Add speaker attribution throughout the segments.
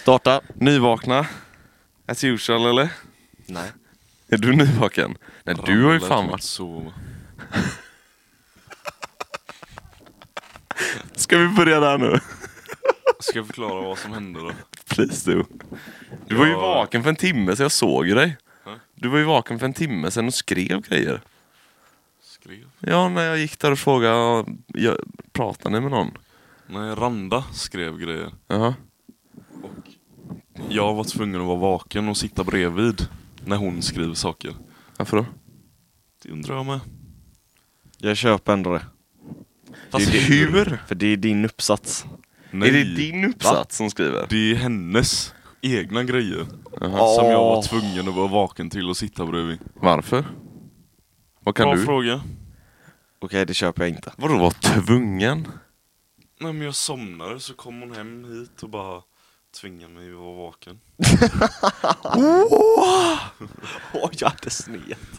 Speaker 1: Starta.
Speaker 2: Nyvakna? As usual eller?
Speaker 1: Nej.
Speaker 2: Är du nyvaken? Nej, du har ju fan varit...
Speaker 1: så...
Speaker 2: Ska vi börja där nu?
Speaker 1: Ska jag förklara vad som hände då?
Speaker 2: Please do. Du var ju
Speaker 1: Ja.
Speaker 2: vaken för en timme sedan, jag såg ju dig.
Speaker 1: Ja.
Speaker 2: Du var ju vaken för en timme sedan och skrev grejer.
Speaker 1: Skrev?
Speaker 2: Ja, när jag gick där och frågade, jag, pratar ni med någon?
Speaker 1: Nej, Randa skrev grejer.
Speaker 2: Jaha.
Speaker 1: Jag var tvungen att vara vaken och sitta bredvid när hon skriver saker.
Speaker 2: Varför då?
Speaker 1: Det undrar jag med.
Speaker 3: Jag köper ändå det.
Speaker 1: Fast
Speaker 2: det, hur?
Speaker 3: För det är din uppsats.
Speaker 1: Nej,
Speaker 2: Är det din uppsats som skriver?
Speaker 1: Det är hennes egna grejer.
Speaker 2: Jaha.
Speaker 1: Som jag var
Speaker 3: Åh.
Speaker 1: tvungen att vara vaken till och sitta bredvid.
Speaker 2: Varför? Vad kan
Speaker 1: Bra
Speaker 2: du?
Speaker 1: fråga.
Speaker 3: Okej, det köper jag inte.
Speaker 2: Vadå var tvungen?
Speaker 1: Nej men jag somnade så kom hon hem hit och bara tvingade mig att vara vaken.
Speaker 3: Åh, jag hade snett.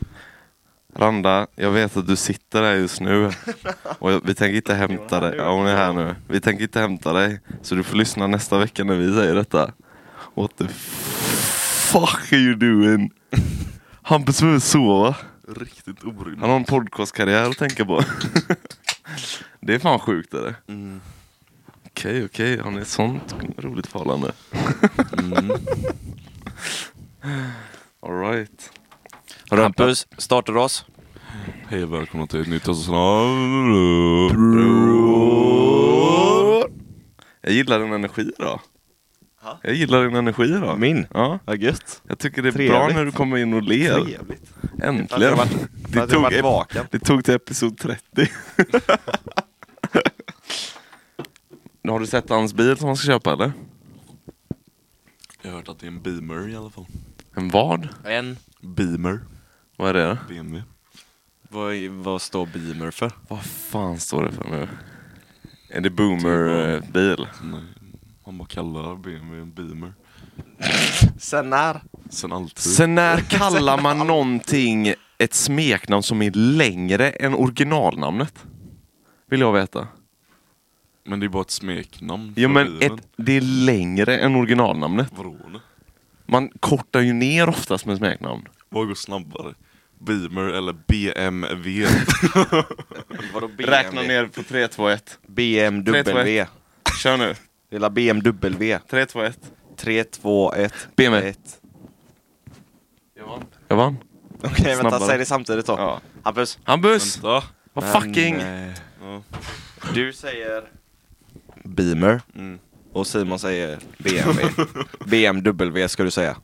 Speaker 2: Randa, jag vet att du sitter där just nu och jag, vi tänker inte hämta dig. Ja, hon är här nu. Vi tänker inte hämta dig. Så du får lyssna nästa vecka när vi säger detta. What the fuck are you doing? Hampus behöver sova.
Speaker 1: Riktigt orimligt.
Speaker 2: Han har en podcastkarriär att tänka på. Det är fan sjukt är det?
Speaker 1: Mm.
Speaker 2: Okej, okej. Han är ett sånt roligt förhållande. Alright.
Speaker 3: Hampus, startar du oss?
Speaker 1: Hej och välkomna till ett nytt avsnitt av...
Speaker 2: Jag gillar din energi idag. Jag gillar din energi idag.
Speaker 3: Min?
Speaker 2: Ja.
Speaker 3: Vad gött.
Speaker 2: Jag tycker det är bra
Speaker 3: Trevligt.
Speaker 2: när du kommer in och ler.
Speaker 3: Trevligt. Hade
Speaker 2: Äntligen.
Speaker 3: jag varit,
Speaker 2: Det
Speaker 3: hade jag
Speaker 2: tog
Speaker 3: varit
Speaker 2: ett-
Speaker 3: vaken.
Speaker 2: Det tog till episod 30. Nu Har du sett hans bil som han ska köpa eller?
Speaker 1: Jag har hört att det är en beamer i alla fall.
Speaker 2: En vad?
Speaker 3: En.
Speaker 1: Beamer.
Speaker 2: Vad är det?
Speaker 1: BMW.
Speaker 3: Vad, vad står Beamer för?
Speaker 2: Vad fan står det för nu? Är det boomer-bil?
Speaker 1: Nej, man bara kallar BMW en beamer.
Speaker 3: Sen när?
Speaker 1: Sen alltid.
Speaker 2: Sen när kallar man någonting ett smeknamn som är längre än originalnamnet? Vill jag veta.
Speaker 1: Men det är bara ett smeknamn
Speaker 2: Jo
Speaker 1: för
Speaker 2: men
Speaker 1: bilen.
Speaker 2: ett, det är längre än originalnamnet.
Speaker 1: Vadå nu?
Speaker 2: Man kortar ju ner oftast med smeknamn.
Speaker 1: Vad går snabbare? Beamer eller BMW?
Speaker 3: Vadå BMW?
Speaker 2: Räkna ner på 3, 2, 1.
Speaker 3: BMW.
Speaker 2: Kör nu.
Speaker 3: Lilla BMW.
Speaker 2: 3, 2, 1.
Speaker 3: 3, 2, 1.
Speaker 2: BMW. Jag vann.
Speaker 3: Okej, vänta.
Speaker 2: Snabbare.
Speaker 3: Säg det samtidigt då.
Speaker 2: Ja.
Speaker 3: Hampus.
Speaker 2: Hampus!
Speaker 1: Vänta.
Speaker 2: Vad
Speaker 3: Men,
Speaker 2: fucking...
Speaker 3: eh,
Speaker 1: Ja.
Speaker 3: Du säger Beamer
Speaker 1: Mm.
Speaker 3: och Simon säger BMW. BMW ska du säga.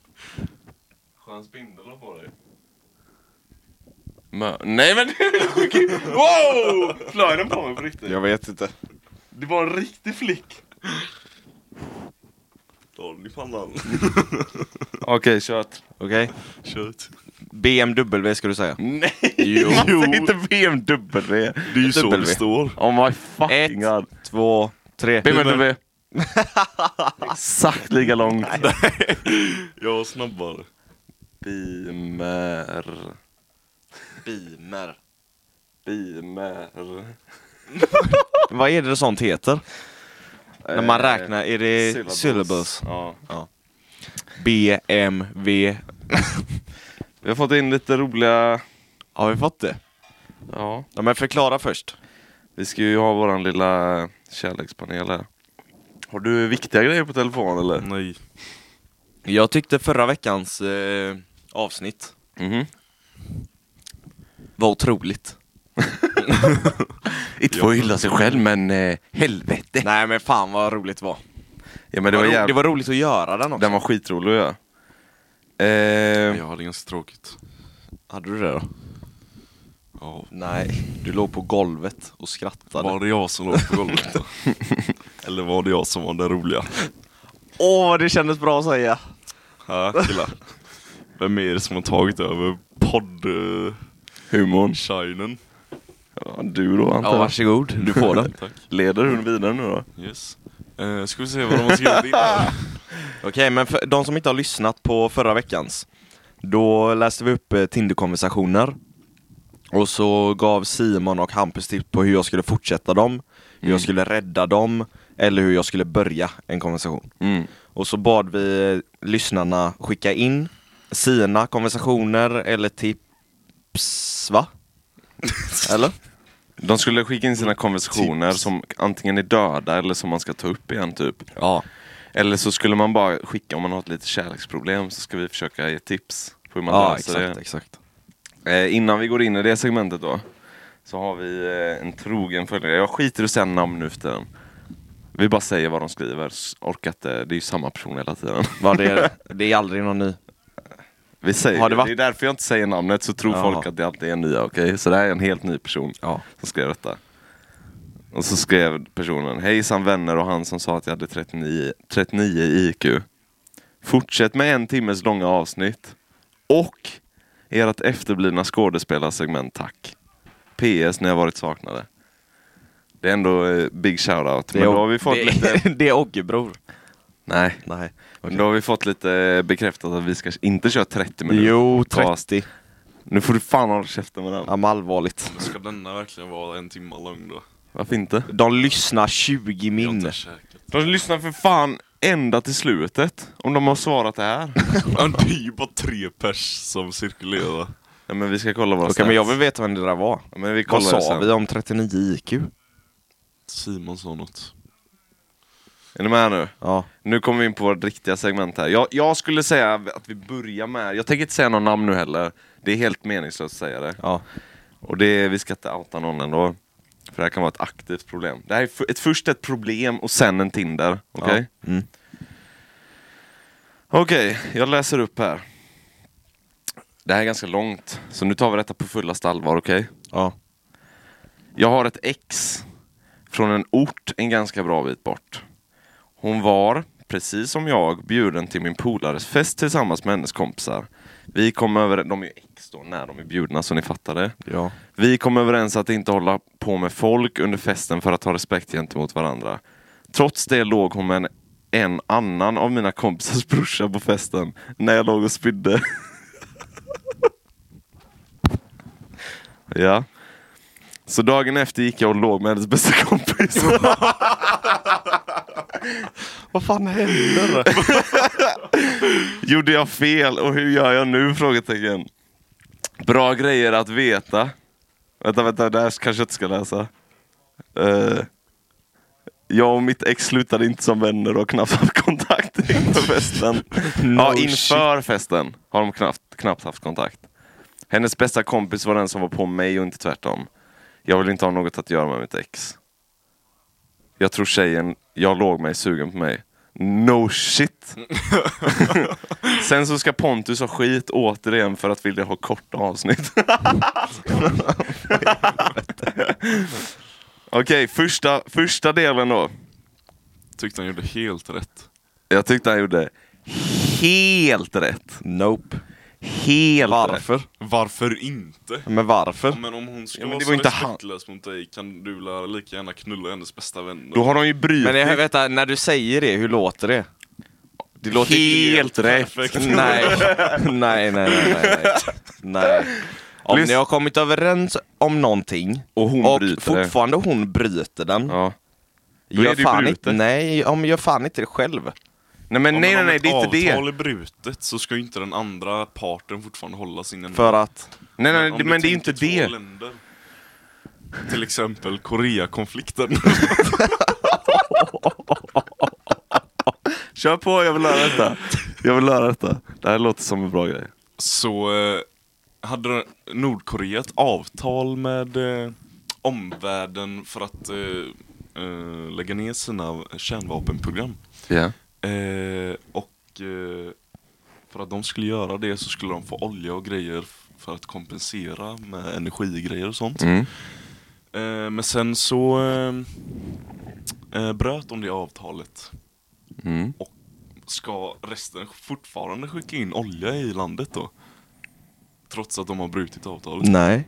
Speaker 1: Skön spindel på dig.
Speaker 2: Mö- Nej men... wow! Flög den på mig på riktigt?
Speaker 3: Jag vet inte.
Speaker 2: Det var en riktig flick.
Speaker 1: Daniel pannan.
Speaker 2: Okej, kört.
Speaker 3: Okej?
Speaker 1: Kört.
Speaker 3: BMW ska du säga.
Speaker 2: Nej!
Speaker 1: Jo.
Speaker 2: Man säger inte BMW.
Speaker 1: Det är ju så det
Speaker 3: W.
Speaker 1: står.
Speaker 2: Oh my fucking god.
Speaker 3: Ett, två, tre.
Speaker 2: BMW. Exakt lika långt.
Speaker 1: Jag var snabbare.
Speaker 2: Bimer.
Speaker 3: Beamer.
Speaker 2: Bimer.
Speaker 3: Vad är det sånt heter? När man
Speaker 2: Eh,
Speaker 3: räknar, är det syllables?
Speaker 2: Ja.
Speaker 3: BMW.
Speaker 2: Vi har fått in lite roliga...
Speaker 3: Har vi fått det?
Speaker 2: Ja.
Speaker 3: Ja, men förklara först.
Speaker 2: Vi ska ju ha våran lilla kärlekspanel här. Har du viktiga grejer på telefon eller?
Speaker 1: Nej.
Speaker 3: Jag tyckte förra veckans eh, avsnitt
Speaker 2: Mhm.
Speaker 3: var otroligt.
Speaker 2: Inte för att hylla sig själv men eh, helvete.
Speaker 3: Nej men fan vad roligt det var.
Speaker 2: Ja men det var
Speaker 3: ro- det
Speaker 2: jävligt...
Speaker 3: var roligt att göra den också.
Speaker 2: Den var skitrolig att göra. Eh,
Speaker 1: Jag hade ganska tråkigt.
Speaker 3: Hade du det då?
Speaker 1: Ja.
Speaker 3: Nej, du låg på golvet och skrattade.
Speaker 1: Var det jag som låg på golvet då? Eller var det jag som var den roliga?
Speaker 3: Åh, vad det kändes bra att säga!
Speaker 1: Ja, killar. Vem är det som har tagit över podd... eh,
Speaker 2: Humorn.
Speaker 1: shinen?
Speaker 2: Ja, du då antar
Speaker 3: Ja,
Speaker 2: jag.
Speaker 3: varsågod. Du får den.
Speaker 1: Tack.
Speaker 2: Leder du vidare nu då?
Speaker 1: Yes. Eh, ska vi se vad de har skrivit in här?
Speaker 3: Okej, men för de som inte har lyssnat på förra veckans Då läste vi upp eh, Tinder-konversationer Och
Speaker 2: Mm.
Speaker 3: så gav Simon och Hampus tips på hur jag skulle fortsätta dem Hur jag skulle rädda dem eller hur jag skulle börja en konversation.
Speaker 2: Mm.
Speaker 3: Och så bad vi eh, lyssnarna skicka in sina konversationer eller tips, va? Eller?
Speaker 2: De skulle skicka in sina konversationer som antingen är döda eller som man ska ta upp igen typ.
Speaker 3: Ja.
Speaker 2: Eller så skulle man bara skicka om man har ett litet kärleksproblem så ska vi försöka ge tips på hur man
Speaker 3: Ja,
Speaker 2: löser
Speaker 3: exakt, exakt.
Speaker 2: det. Eh, innan vi går in i det segmentet då så har vi eh, en trogen följare. Jag skiter i att säga namn nu för tiden. Vi bara säger vad de skriver. S- Orkar inte, det är ju samma person hela tiden.
Speaker 3: Vad det, är, det är aldrig någon ny.
Speaker 2: Vi säger
Speaker 3: Har det
Speaker 2: det,
Speaker 3: varit-
Speaker 2: det är därför jag inte säger namnet så tror
Speaker 3: Jaha.
Speaker 2: folk att det alltid är nya, okej? Så det här är en helt ny person
Speaker 3: Ja.
Speaker 2: som skrev detta. Och så skrev personen, hejsan vänner och han som sa att jag hade 39, 39 i IQ. Fortsätt med en timmes långa avsnitt. Och ert efterblivna skådespelarsegment, tack. PS, ni har varit saknade. Det är ändå eh, big shoutout. Men då har vi fått
Speaker 3: det,
Speaker 2: lite...
Speaker 3: det är Ogge bror.
Speaker 2: Nej.
Speaker 3: Nej.
Speaker 2: Men Då har vi fått lite eh, bekräftat att vi ska inte köra 30 minuter.
Speaker 3: Jo,
Speaker 2: podcast.
Speaker 3: 30.
Speaker 2: Nu får du fan hålla käften med den.
Speaker 3: Ja, men allvarligt.
Speaker 1: Ska denna verkligen vara en timme lång då?
Speaker 2: Varför inte?
Speaker 3: De lyssnar 20
Speaker 1: Jag har inte
Speaker 3: min.
Speaker 1: käkat.
Speaker 2: De lyssnar för fan ända till slutet om de har svarat det här.
Speaker 1: Ja, det är ju bara tre pers som cirkulerar.
Speaker 2: ja, men vi ska kolla våra
Speaker 3: Okej, men jag vill veta vem det där var.
Speaker 2: ja, men vi kollar
Speaker 3: Vad
Speaker 2: det
Speaker 3: sa
Speaker 2: sen.
Speaker 3: vi om 39 IQ?
Speaker 1: Simon sa något.
Speaker 2: Är ni med nu?
Speaker 3: Ja.
Speaker 2: Nu kommer vi in på vårt riktiga segment här. Jag, jag skulle säga att vi börjar med, jag tänker inte säga någon namn nu heller. Det är helt meningslöst att säga det.
Speaker 3: ja.
Speaker 2: Och det, vi ska inte outa någon ändå. För det här kan vara ett aktivt problem. Det här är f- ett, först ett problem och sen en Tinder. Okej?
Speaker 3: Ja. Mm.
Speaker 2: Okej, jag läser upp här. Det här är ganska långt, så nu tar vi detta på fullaste allvar, okej?
Speaker 3: ja.
Speaker 2: Jag har ett ex från en ort en ganska bra bit bort. Hon var, precis som jag, bjuden till min polares fest tillsammans med hennes kompisar. Vi kom över, de är ju ex då när de är bjudna så ni fattar det.
Speaker 3: Ja.
Speaker 2: Vi kom överens att inte hålla på med folk under festen för att ha respekt gentemot varandra. Trots det låg hon med en, en annan av mina kompisars brorsa på festen när jag låg och spydde. ja. Så dagen efter gick jag och låg med hennes bästa kompis.
Speaker 3: Vad fan händer?
Speaker 2: Gjorde jag fel och hur gör jag nu? Frågetecken. Bra grejer att veta. Vänta, vänta, det här kanske jag inte ska läsa. Eh, jag och mitt ex slutade inte som vänner och har knappt haft kontakt inför festen.
Speaker 3: No
Speaker 2: ja, inför festen har de knappt, knappt haft kontakt. Hennes bästa kompis var den som var på mig och inte tvärtom. Jag vill inte ha något att göra med mitt ex. Jag tror tjejen jag låg med är sugen på mig. No shit! Sen så ska Pontus ha skit återigen för att vilja ha korta avsnitt. Okej, första, första delen då.
Speaker 1: Tyckte han gjorde helt rätt.
Speaker 2: Jag tyckte han gjorde helt rätt.
Speaker 3: Nope.
Speaker 2: Helt rätt.
Speaker 3: Varför?
Speaker 1: Varför inte?
Speaker 3: Men varför?
Speaker 1: Men om hon ska
Speaker 2: Ja, men
Speaker 1: vara
Speaker 2: det
Speaker 1: så
Speaker 2: var inte han.
Speaker 1: respektlös mot dig kan du lära lika gärna knulla hennes bästa vänner.
Speaker 2: Då har de ju brutit.
Speaker 3: Men jag, vänta, när du säger det, hur låter det? Det låter
Speaker 2: helt rätt.
Speaker 1: perfekt.
Speaker 3: Nej, nej, nej, nej, nej. nej. Om
Speaker 2: Lys-
Speaker 3: ni har kommit överens om någonting
Speaker 2: Och hon
Speaker 3: och
Speaker 2: bryter det.
Speaker 3: fortfarande hon bryter den.
Speaker 2: Ja. Då är
Speaker 3: gör
Speaker 2: det ju
Speaker 3: fan
Speaker 2: brutet.
Speaker 3: inte, nej, ja, men gör fan inte det själv.
Speaker 2: Nej men
Speaker 1: Ja,
Speaker 2: nej nej,
Speaker 1: om
Speaker 2: nej det är
Speaker 1: Om
Speaker 2: inte
Speaker 1: ett
Speaker 2: det.
Speaker 1: avtal är brutet så ska ju inte den andra parten fortfarande hålla sin ändå.
Speaker 3: För att,
Speaker 2: Nej nej
Speaker 1: Om
Speaker 2: men, det
Speaker 1: du
Speaker 2: är ju
Speaker 1: tänker
Speaker 2: inte
Speaker 1: två
Speaker 2: det.
Speaker 1: Länder, till exempel Koreakonflikten.
Speaker 2: Kör på, jag vill höra detta. Jag vill höra detta. Det här låter som en bra grej.
Speaker 1: så eh, hade Nordkorea ett avtal med eh, omvärlden för att eh, eh, lägga ner sina kärnvapenprogram.
Speaker 2: Ja.
Speaker 1: Eh, och eh, för att de skulle göra det så skulle de få olja och grejer f- för att kompensera med energigrejer och sånt.
Speaker 2: Mm.
Speaker 1: Eh, men sen så eh, eh, bröt de det avtalet.
Speaker 2: Mm.
Speaker 1: Ska resten fortfarande skicka in olja i landet då? Trots att de har brutit avtalet.
Speaker 3: nej.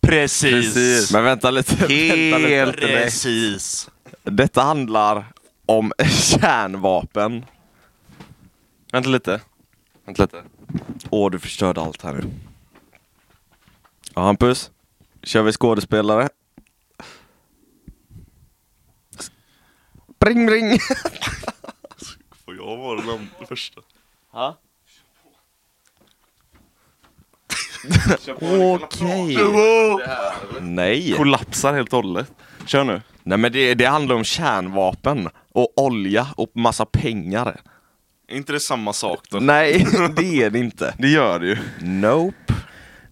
Speaker 1: Precis!
Speaker 2: Precis.
Speaker 3: Men vänta lite. vänta lite.
Speaker 2: Helt rätt.
Speaker 1: Precis!
Speaker 3: Detta handlar om kärnvapen.
Speaker 2: Vänta lite. Vänta lite.
Speaker 3: Åh, du förstörde allt här nu. Ja, Hampus. Kör vi skådespelare? Bring bring!
Speaker 1: Får jag vara den första?
Speaker 3: Ha?
Speaker 2: Okej.
Speaker 3: Nej.
Speaker 2: Kollapsar helt och hållet. Kör nu.
Speaker 3: Nej men det, det handlar om kärnvapen och olja och massa pengar.
Speaker 1: Är inte det samma sak då?
Speaker 3: Nej, det är det inte.
Speaker 2: Det gör det ju.
Speaker 3: Nope.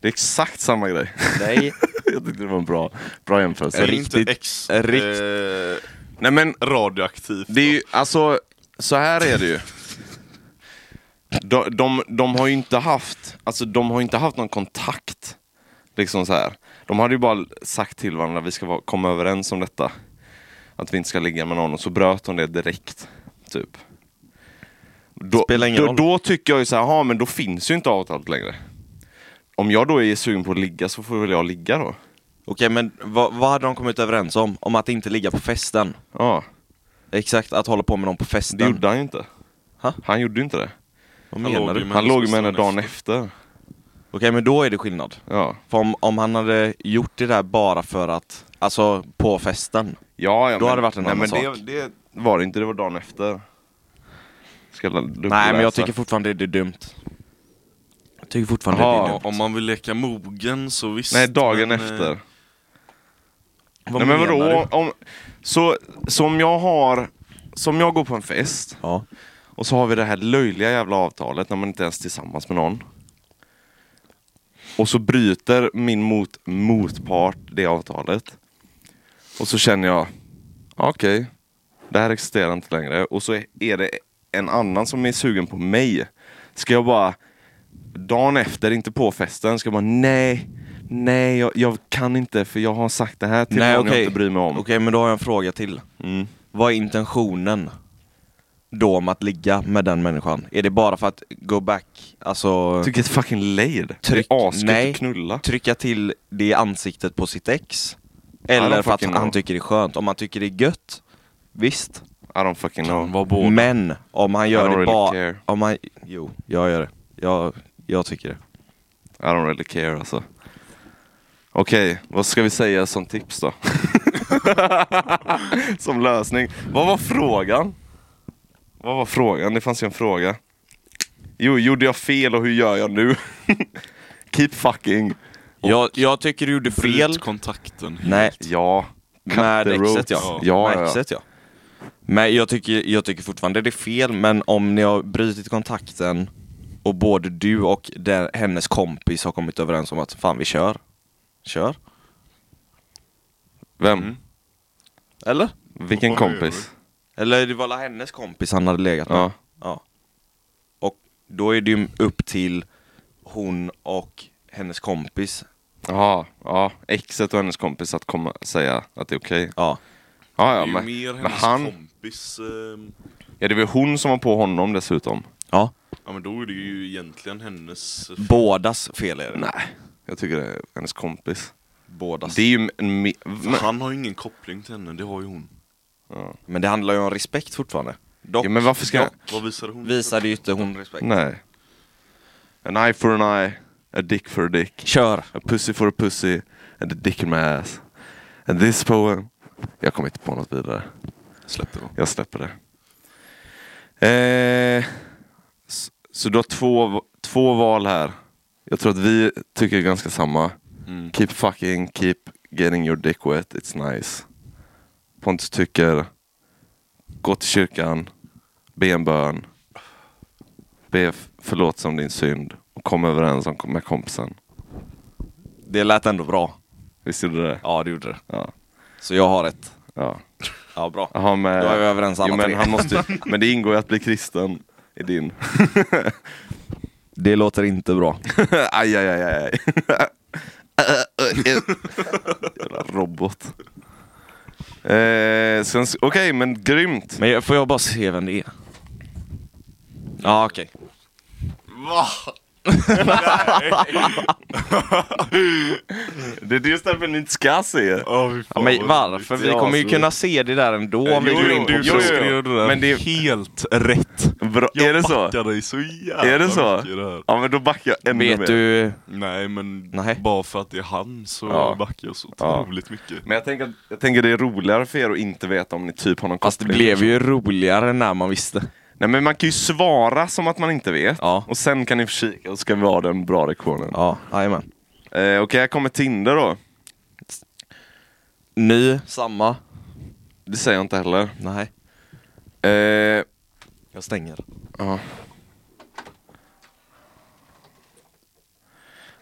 Speaker 2: Det är exakt samma grej.
Speaker 3: Nej.
Speaker 2: Jag tyckte det var en bra, bra jämförelse.
Speaker 1: är det inte
Speaker 3: riktigt-
Speaker 1: ex...
Speaker 3: rikt-
Speaker 1: Eh,
Speaker 2: Nej men
Speaker 1: radioaktivt?
Speaker 2: Det är ju, alltså, så här är det ju. De, de, de har ju inte haft, alltså de har inte haft någon kontakt. Liksom så här. De hade ju bara sagt till varandra, vi ska vara, komma överens om detta. Att vi inte ska ligga med någon, och så bröt de det direkt. Typ. Då,
Speaker 3: Spelar ingen
Speaker 2: då,
Speaker 3: roll.
Speaker 2: då tycker jag ju så här, "Jaha, men då finns ju inte avtalet längre. Om jag då är sugen på att ligga så får väl jag ligga då.
Speaker 3: Okej men vad, vad hade de kommit överens om? Om att inte ligga på festen?
Speaker 2: Ja,
Speaker 3: Exakt, att hålla på med någon på
Speaker 2: det
Speaker 3: festen.
Speaker 2: gjorde han ju inte.
Speaker 3: Ha?
Speaker 2: Han gjorde ju inte det.
Speaker 3: Vad
Speaker 1: Han låg
Speaker 3: menar du?
Speaker 1: ju
Speaker 3: Okej
Speaker 1: Men
Speaker 2: han
Speaker 1: det
Speaker 2: låg
Speaker 1: ska
Speaker 2: med henne
Speaker 1: stå
Speaker 2: dagen efter.
Speaker 3: men då är det skillnad.
Speaker 2: Ja.
Speaker 3: För om, om han hade gjort det där bara för att, alltså på festen.
Speaker 2: Ja, ja,
Speaker 3: Då hade det varit en annan
Speaker 2: men
Speaker 3: sak.
Speaker 2: Det, det var det inte, det var dagen efter. Ska jag dubbelläsa?
Speaker 3: Nej men jag tycker fortfarande det är dumt. Jag tycker fortfarande
Speaker 2: Jaha.
Speaker 3: det är
Speaker 1: Ja,
Speaker 3: dumt.
Speaker 1: om man vill leka mogen så visst.
Speaker 2: Nej, dagen
Speaker 1: men, eh,
Speaker 2: efter.
Speaker 3: Vad
Speaker 2: Nej, men
Speaker 3: menar
Speaker 2: vadå?
Speaker 3: du?
Speaker 2: Om, så, så om jag har... Som jag går på en fest
Speaker 3: Ja.
Speaker 2: och så har vi det här löjliga jävla avtalet när man inte ens är tillsammans med någon. Och så bryter min mot, motpart det avtalet. Och så känner jag, ja, okej, det här existerar inte längre. Och så är det en annan som är sugen på mig. Ska jag bara, dagen efter, inte på festen, ska jag bara nej, nej, jag, jag kan inte för jag har sagt det här till
Speaker 3: Nej
Speaker 2: någon jag
Speaker 3: okej.
Speaker 2: inte bryr mig om.
Speaker 3: Okej men då har jag en fråga till.
Speaker 2: Mm.
Speaker 3: Vad är intentionen då om att ligga med den människan? Är det bara för att go back, alltså
Speaker 2: Jag tycker det är fucking lejd.
Speaker 3: Tryck-
Speaker 2: det är asgött
Speaker 3: nej.
Speaker 2: att knulla.
Speaker 3: trycka till det i ansiktet på sitt
Speaker 2: I
Speaker 3: ex? Eller
Speaker 2: don't
Speaker 3: för att
Speaker 2: fucking
Speaker 3: han
Speaker 2: know.
Speaker 3: tycker det är skönt? Om han tycker det är gött, visst.
Speaker 2: I don't fucking know.
Speaker 1: Var båda.
Speaker 3: Men om han
Speaker 2: I
Speaker 3: gör
Speaker 2: don't
Speaker 3: det
Speaker 2: really
Speaker 3: bara...
Speaker 2: care.
Speaker 3: Om han... Jo, jag gör det. Jag, jag tycker det.
Speaker 2: I don't really care alltså. Okej, vad ska vi säga som tips då? som lösning. Vad var frågan? Vad var frågan? Det fanns ju en fråga. Jo, gjorde jag fel och hur gör jag nu? Keep fucking.
Speaker 3: Jag, jag tycker du gjorde
Speaker 1: Bryt
Speaker 3: fel.
Speaker 1: kontakten.
Speaker 3: Nej,
Speaker 2: Ja. Cut
Speaker 3: med
Speaker 2: the
Speaker 3: exet
Speaker 2: ropes.
Speaker 3: ja.
Speaker 2: Ja,
Speaker 3: Med
Speaker 2: ja, ja.
Speaker 3: exet ja. Men jag tycker, jag tycker fortfarande det är fel, men om ni har brutit kontakten och både du och den, hennes kompis har kommit överens om att fan vi kör. Kör.
Speaker 2: Vem?
Speaker 1: Mm.
Speaker 3: Eller?
Speaker 2: Vilken
Speaker 1: Oj,
Speaker 2: kompis?
Speaker 3: Eller det var alla hennes kompis han hade legat med.
Speaker 2: Ja.
Speaker 3: Ja. Och då är det ju upp till hon och hennes kompis.
Speaker 2: Jaha, ja. Exet och hennes kompis att komma säga att det är okej.
Speaker 3: Ja.
Speaker 2: Ja,
Speaker 1: Det
Speaker 2: ja,
Speaker 1: är ju
Speaker 2: men,
Speaker 1: mer
Speaker 2: men
Speaker 1: hennes
Speaker 2: han...
Speaker 1: kompis. Eh,
Speaker 2: Ja, det var hon som var på honom dessutom.
Speaker 3: Ja.
Speaker 1: ja men då är det ju egentligen hennes...
Speaker 3: Bådas fel är det.
Speaker 2: Nej, jag tycker det är hennes kompis.
Speaker 3: Bådas.
Speaker 2: Det är ju en... me- Men,
Speaker 1: Han har ju ingen koppling till henne, det har ju hon.
Speaker 3: Men det handlar ju om respekt fortfarande. Dock
Speaker 2: ja, men varför ska...
Speaker 1: Vad visar hon?
Speaker 3: visade ju inte hon respekt.
Speaker 2: Nej. An eye for an eye, a dick for a dick,
Speaker 3: Kör!
Speaker 2: a pussy for a pussy, and a dick in my ass. And this poem... Jag kommer inte på något vidare.
Speaker 1: Släpp det då.
Speaker 2: Jag släpper det. Eh, s- så du har två, två val här. Jag tror att vi tycker ganska samma.
Speaker 1: Mm.
Speaker 2: Keep fucking, keep getting your dick wet, it's nice. Pontus tycker, gå till kyrkan, be en bön, be f- förlåtelse om din synd och kom överens om, med kompisen.
Speaker 3: Det lät ändå bra.
Speaker 2: Visst gjorde du det?
Speaker 3: Ja, det gjorde det.
Speaker 2: Ja.
Speaker 3: Så jag har ett.
Speaker 2: ja.
Speaker 3: Ja, bra.
Speaker 2: Aha, med,
Speaker 3: Då är vi överens alla
Speaker 2: jo, men,
Speaker 3: tre.
Speaker 2: han måste, men det ingår ju att bli kristen i din.
Speaker 3: Det låter inte bra.
Speaker 2: aj, aj, aj, aj. Jävla robot. Eh, sen s- Okej, men grymt.
Speaker 3: Men jag- får jag bara se vem det är? Ja, okej.
Speaker 1: Va?
Speaker 2: Det är just därför ni inte ska se.
Speaker 1: Oh,
Speaker 3: Ja, men varför? Vi kommer ju kunna se det där ändå om vi
Speaker 1: Jo,
Speaker 3: går in
Speaker 1: jo,
Speaker 3: på
Speaker 1: du
Speaker 2: jo, jo.
Speaker 1: skrev det där
Speaker 2: Men det-
Speaker 1: helt rätt.
Speaker 2: Bra.
Speaker 1: Jag
Speaker 2: är det så?
Speaker 1: backar dig så jävla
Speaker 2: Är det så?
Speaker 1: mycket i det här.
Speaker 2: Ja men då backar jag ännu mer.
Speaker 3: Vet du?
Speaker 1: Nej men
Speaker 3: Nej.
Speaker 1: bara för att det är han så
Speaker 2: Ja.
Speaker 1: backar jag så
Speaker 2: Ja.
Speaker 1: otroligt mycket.
Speaker 2: Men jag tänker, att- jag tänker det är roligare för er att inte veta om ni typ har någon
Speaker 3: Fast det blev ju roligare när man visste.
Speaker 2: Nej men man kan ju svara som att man inte vet.
Speaker 3: Ja.
Speaker 2: Och sen kan ni kika och så ska vi ha den bra reaktionen.
Speaker 3: Ja, jajamän.
Speaker 2: Eh, Okej, här kommer Tinder då.
Speaker 3: Ny, samma.
Speaker 2: Det säger jag inte heller.
Speaker 3: Nej,
Speaker 2: Eh,
Speaker 3: jag stänger.
Speaker 2: ja.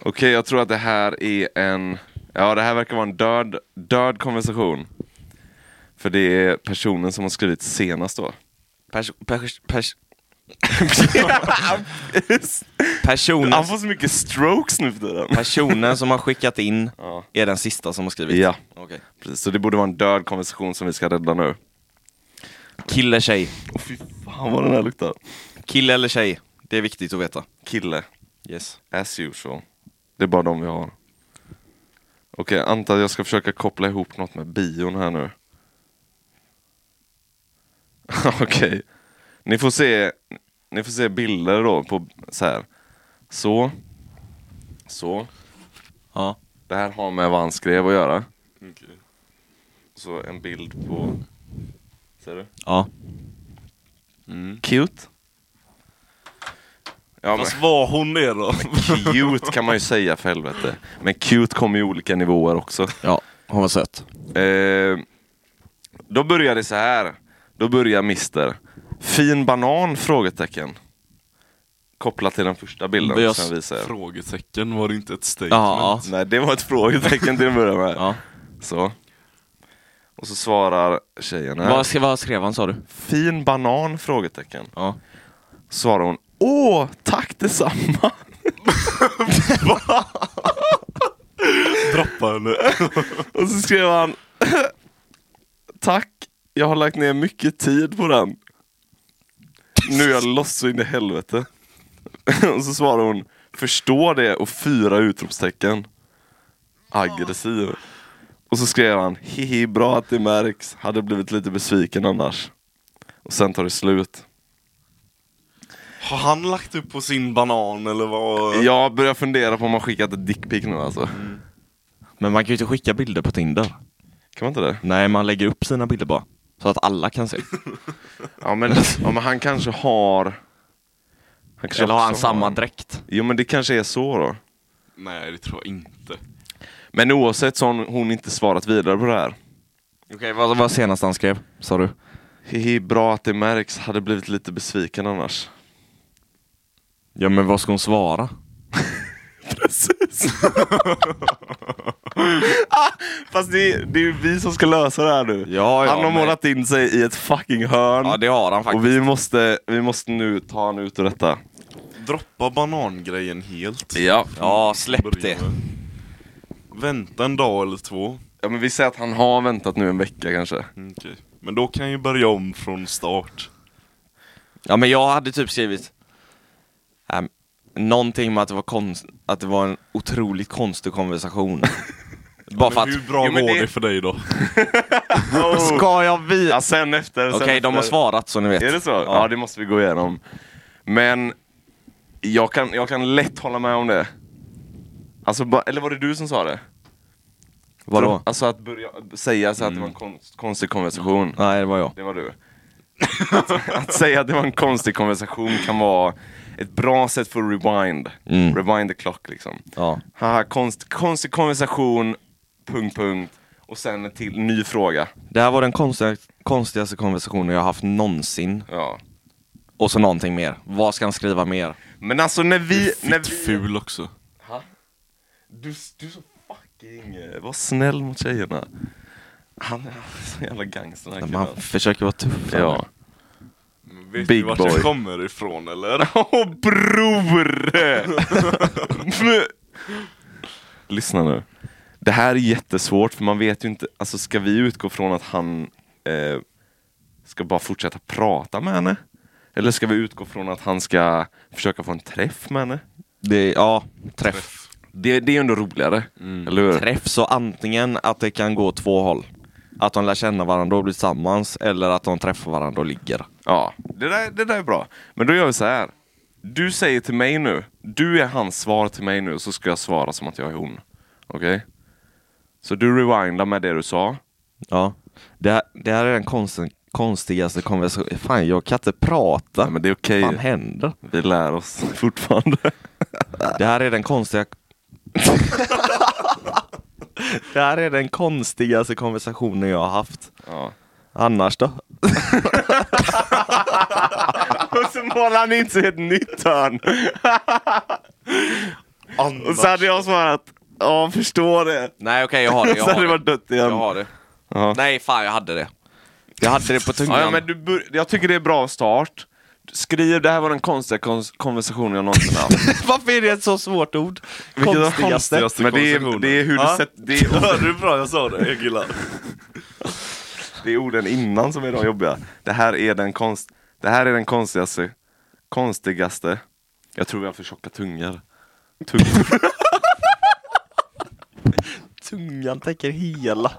Speaker 2: Okej, jag tror att det här är en... Ja, det här verkar vara en död, död konversation. För det är personen som har skrivit senast då.
Speaker 3: Pers, pers, pers. personen,
Speaker 2: Han får så mycket strokes nu för tiden.
Speaker 3: personen som har skickat in
Speaker 2: Ja.
Speaker 3: är den sista som har skrivit.
Speaker 2: Ja,
Speaker 3: Okej.
Speaker 2: precis. Så det borde vara en död konversation som vi ska rädda nu.
Speaker 3: Kille, tjej.
Speaker 2: Åh fy fan vad den här luktar.
Speaker 3: Kille eller tjej. Det är viktigt att veta.
Speaker 2: Kille.
Speaker 3: Yes.
Speaker 2: As usual. Det är bara de vi har. Okej, Anta jag ska försöka koppla ihop något med bion här nu. Okej. Ni får se Ni får se bilder då på så här. Så. Så.
Speaker 3: Ja.
Speaker 2: Det här har med vad han skrev att göra. Så en bild på... Ser du?
Speaker 3: Ja.
Speaker 2: Cute. Ja, men,
Speaker 1: Fast var hon är då?
Speaker 2: cute kan man ju säga för helvete. Men cute kommer ju olika nivåer också.
Speaker 3: Ja, hon var söt.
Speaker 2: Eh, då börjar det så här. Då börjar Mister. Fin banan? Frågetecken. Kopplat till den första bilden
Speaker 3: Yes.
Speaker 2: som jag
Speaker 1: Eh.
Speaker 2: visar. er.
Speaker 1: Frågetecken, var det inte ett statement?
Speaker 3: Ja.
Speaker 2: Nej, det var ett frågetecken till att börja med.
Speaker 3: ja.
Speaker 2: Så. Och så svarar tjejen här.
Speaker 3: Vad, sk- vad skrev han sa du?
Speaker 2: Fin banan? Frågetecken.
Speaker 3: Ja.
Speaker 2: Svarar hon. Åh, tack detsamma!
Speaker 1: Droppa henne.
Speaker 2: Och så skrev han Tack, jag har lagt ner mycket tid på den. Nu är jag loss så in i helvete. Och så svarar hon Förstår det och fyra utropstecken. Aggressiv. Och så skrev han Hihi, bra att det märks. Hade blivit lite besviken annars. Och sen tar det slut.
Speaker 1: Har han lagt upp på sin banan eller vad?
Speaker 2: Jag börjar fundera på om man skickat ett dickpic nu alltså.
Speaker 3: Men man kan ju inte skicka bilder på Tinder.
Speaker 2: Kan man inte det?
Speaker 3: Nej, man lägger upp sina bilder bara. Så att alla kan se.
Speaker 2: Ja men, ja, men han kanske har... Han kanske
Speaker 3: Eller har han
Speaker 2: också
Speaker 3: samma dräkt?
Speaker 2: Jo men det kanske är så då.
Speaker 1: Nej det tror jag inte.
Speaker 2: Men oavsett så har hon- hon inte svarat vidare på det här.
Speaker 3: Okej, vad var senast han skrev? Sa du?
Speaker 2: Hihi, bra att det märks. Hade blivit lite besviken annars.
Speaker 3: Ja, men vad ska hon svara?
Speaker 2: Precis. Fast det är, det är ju vi som ska lösa det här nu.
Speaker 3: Ja, ja,
Speaker 2: han har
Speaker 3: men-
Speaker 2: målat in sig i ett fucking hörn.
Speaker 3: Ja, det har han faktiskt.
Speaker 2: och vi måste, vi måste nu ta han ut ur detta.
Speaker 1: Droppa banangrejen helt.
Speaker 2: Ja.
Speaker 3: Ja, släpp det.
Speaker 1: Vänta en dag eller två.
Speaker 2: ja men vi säger att han har väntat nu en vecka kanske.
Speaker 1: Mm, okej. Men då kan jag ju börja om från start.
Speaker 3: Ja, men jag hade typ skrivit ehm, någonting med att det var, konst, att det var en otroligt konstig konversation. Bara för
Speaker 1: Men
Speaker 3: att...
Speaker 1: hur bra
Speaker 2: Jo, men
Speaker 1: går
Speaker 2: det-
Speaker 1: det för dig då?
Speaker 3: Ska jag visa?
Speaker 2: Ja, sen efter. sen
Speaker 3: Okej, de
Speaker 2: efter.
Speaker 3: har svarat så ni vet.
Speaker 2: Är det så? Ja.
Speaker 3: Ja.
Speaker 2: det måste vi gå igenom. Men jag kan, jag kan lätt hålla med om det. Alltså, ba, eller var det du som sa det?
Speaker 3: Vadå? Mm.
Speaker 2: Alltså att börja säga så att det var en konst, konstig konversation.
Speaker 3: Nej, det var jag.
Speaker 2: Det var du. att, att säga att det var en konstig konversation kan vara ett bra sätt för att rewind.
Speaker 3: Mm.
Speaker 2: Rewind the clock liksom.
Speaker 3: Ja.
Speaker 2: Haha, konst, konstig konversation, punkt, punkt. Och sen en till ny fråga.
Speaker 3: Det här var den konstiga, konstigaste konversationen jag haft någonsin.
Speaker 2: Ja.
Speaker 3: Och så någonting mer. Vad ska han skriva mer?
Speaker 2: Men alltså när vi... När
Speaker 1: Fitt
Speaker 2: vi
Speaker 1: ful också.
Speaker 2: Ha? Du, du är så fucking... eh, Var snäll mot tjejerna. Han är så jävla gangster den här
Speaker 3: Men han
Speaker 2: killen.
Speaker 3: försöker vara tuff.
Speaker 2: Ja.
Speaker 1: Men Vet
Speaker 2: Big
Speaker 1: du vart
Speaker 2: boy.
Speaker 1: jag kommer ifrån eller?
Speaker 2: Åh bror! Lyssna nu. Det här är jättesvårt för man vet ju inte, alltså ska vi utgå från att han eh, ska bara fortsätta prata med henne? Eller ska vi utgå från att han ska försöka få en träff med henne?
Speaker 3: Det, ja, träff.
Speaker 2: Det, det är ju ändå roligare, eller hur?
Speaker 3: träff så antingen att det kan gå två håll. Att de lär känna varandra och blir tillsammans eller att de träffar varandra och ligger.
Speaker 2: Ja, det där, det där är bra. Men då gör vi så här. Du säger till mig nu, du är hans svar till mig nu, så ska jag svara som att jag är hon. Okej? Så du rewindar med det du sa.
Speaker 3: Ja. Det här, det här är den konsten, konstigaste konversationen. Fan, jag kan inte prata.
Speaker 2: Nej, men det är okej.
Speaker 3: Vad fan händer?
Speaker 2: Vi lär oss fortfarande.
Speaker 3: Det här är den konstiga... det här är den konstigaste konversationen jag har haft.
Speaker 2: Ja.
Speaker 3: Annars då?
Speaker 2: Och så målar han in sig i ett nytt hörn. Och så hade jag svarat, ja förstår det.
Speaker 3: Nej okej, jag har det. Jag
Speaker 2: så hade
Speaker 3: har
Speaker 2: det
Speaker 3: det.
Speaker 2: varit dött igen.
Speaker 3: Jag har det.
Speaker 2: Ja.
Speaker 3: Nej fan, jag hade det. Ehm, Jag hade det på tungan.
Speaker 2: Ja, ja, men du bör- jag tycker det är bra start. Skriv, det här var den konstiga kons- konversationen jag någonsin haft.
Speaker 3: Varför är det ett så svårt ord?
Speaker 1: Vilket är
Speaker 3: Konstigaste.
Speaker 1: konstigaste?
Speaker 2: Men det är, det är hur du
Speaker 1: Ja.
Speaker 2: sätter... Det är, ord-
Speaker 1: Hörde du bra jag sa det, jag gillar.
Speaker 2: det är orden innan som är de jobbiga. Det här är den konst... Det här är den konstigaste... Konstigaste... Jag tror vi har för tjocka tungor. Tung...
Speaker 3: Tungan täcker hela.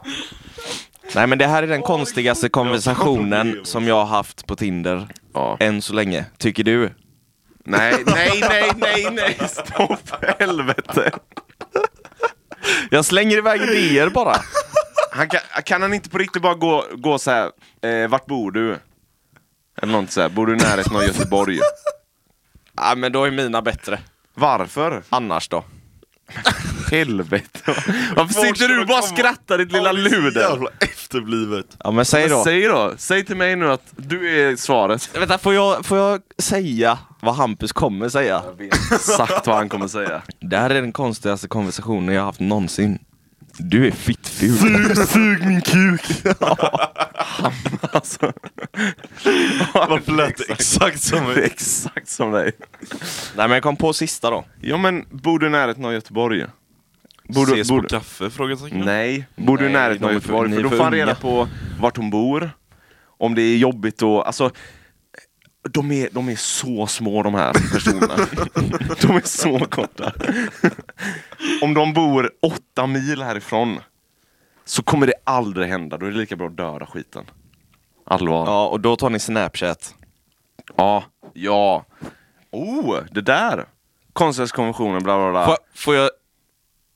Speaker 3: Nej men det här är den konstigaste konversationen som jag har haft på Tinder.
Speaker 2: Ja.
Speaker 3: Än så länge, tycker du?
Speaker 2: nej, nej, nej, nej, nej! Stopp, för helvete!
Speaker 3: Jag slänger iväg idéer bara.
Speaker 2: Han kan, kan han inte på riktigt bara gå, gå så här, eh, vart bor du? Eller något så här, bor du i närheten av Göteborg?
Speaker 3: Ja men då är mina bättre.
Speaker 2: Varför?
Speaker 3: Annars då?
Speaker 2: Helvete. Varför sitter du och bara skrattar ditt lilla luder?
Speaker 1: Jävla efterblivet.
Speaker 3: Ja men säg då.
Speaker 2: Säg då, säg till mig nu att du är svaret.
Speaker 3: Vänta, får jag, får jag säga vad Hampus kommer säga?
Speaker 2: Exakt vad han kommer säga.
Speaker 3: Det här är den konstigaste konversationen jag har haft någonsin. Du är fittful.
Speaker 1: Sug min kuk!
Speaker 2: Alltså,
Speaker 1: Varför lät det exakt som
Speaker 2: det är exakt som dig.
Speaker 3: Nej men jag kom på sista då.
Speaker 2: Ja men, bor du i närheten av Göteborg? Bor du,
Speaker 1: Ses
Speaker 2: bor
Speaker 1: på
Speaker 2: du-
Speaker 1: kaffe? Frågetecken.
Speaker 2: Nej, Mm. bor du i
Speaker 3: Nej,
Speaker 2: närheten av
Speaker 3: de är för-
Speaker 2: Göteborg?
Speaker 3: ni
Speaker 2: För
Speaker 3: är
Speaker 2: då
Speaker 3: för
Speaker 2: får han reda
Speaker 3: unga.
Speaker 2: på vart hon bor, om det är jobbigt och alltså de är, de är så små de här personerna. de är så korta. om de bor åtta mil härifrån så kommer det aldrig hända. Då är det lika bra att döda skiten. Allvar. Ja.
Speaker 3: Ja och då tar ni Snapchat.
Speaker 2: ja. Oh, det där! Konstnärskonventionen, bla bla bla.
Speaker 3: Får, får jag...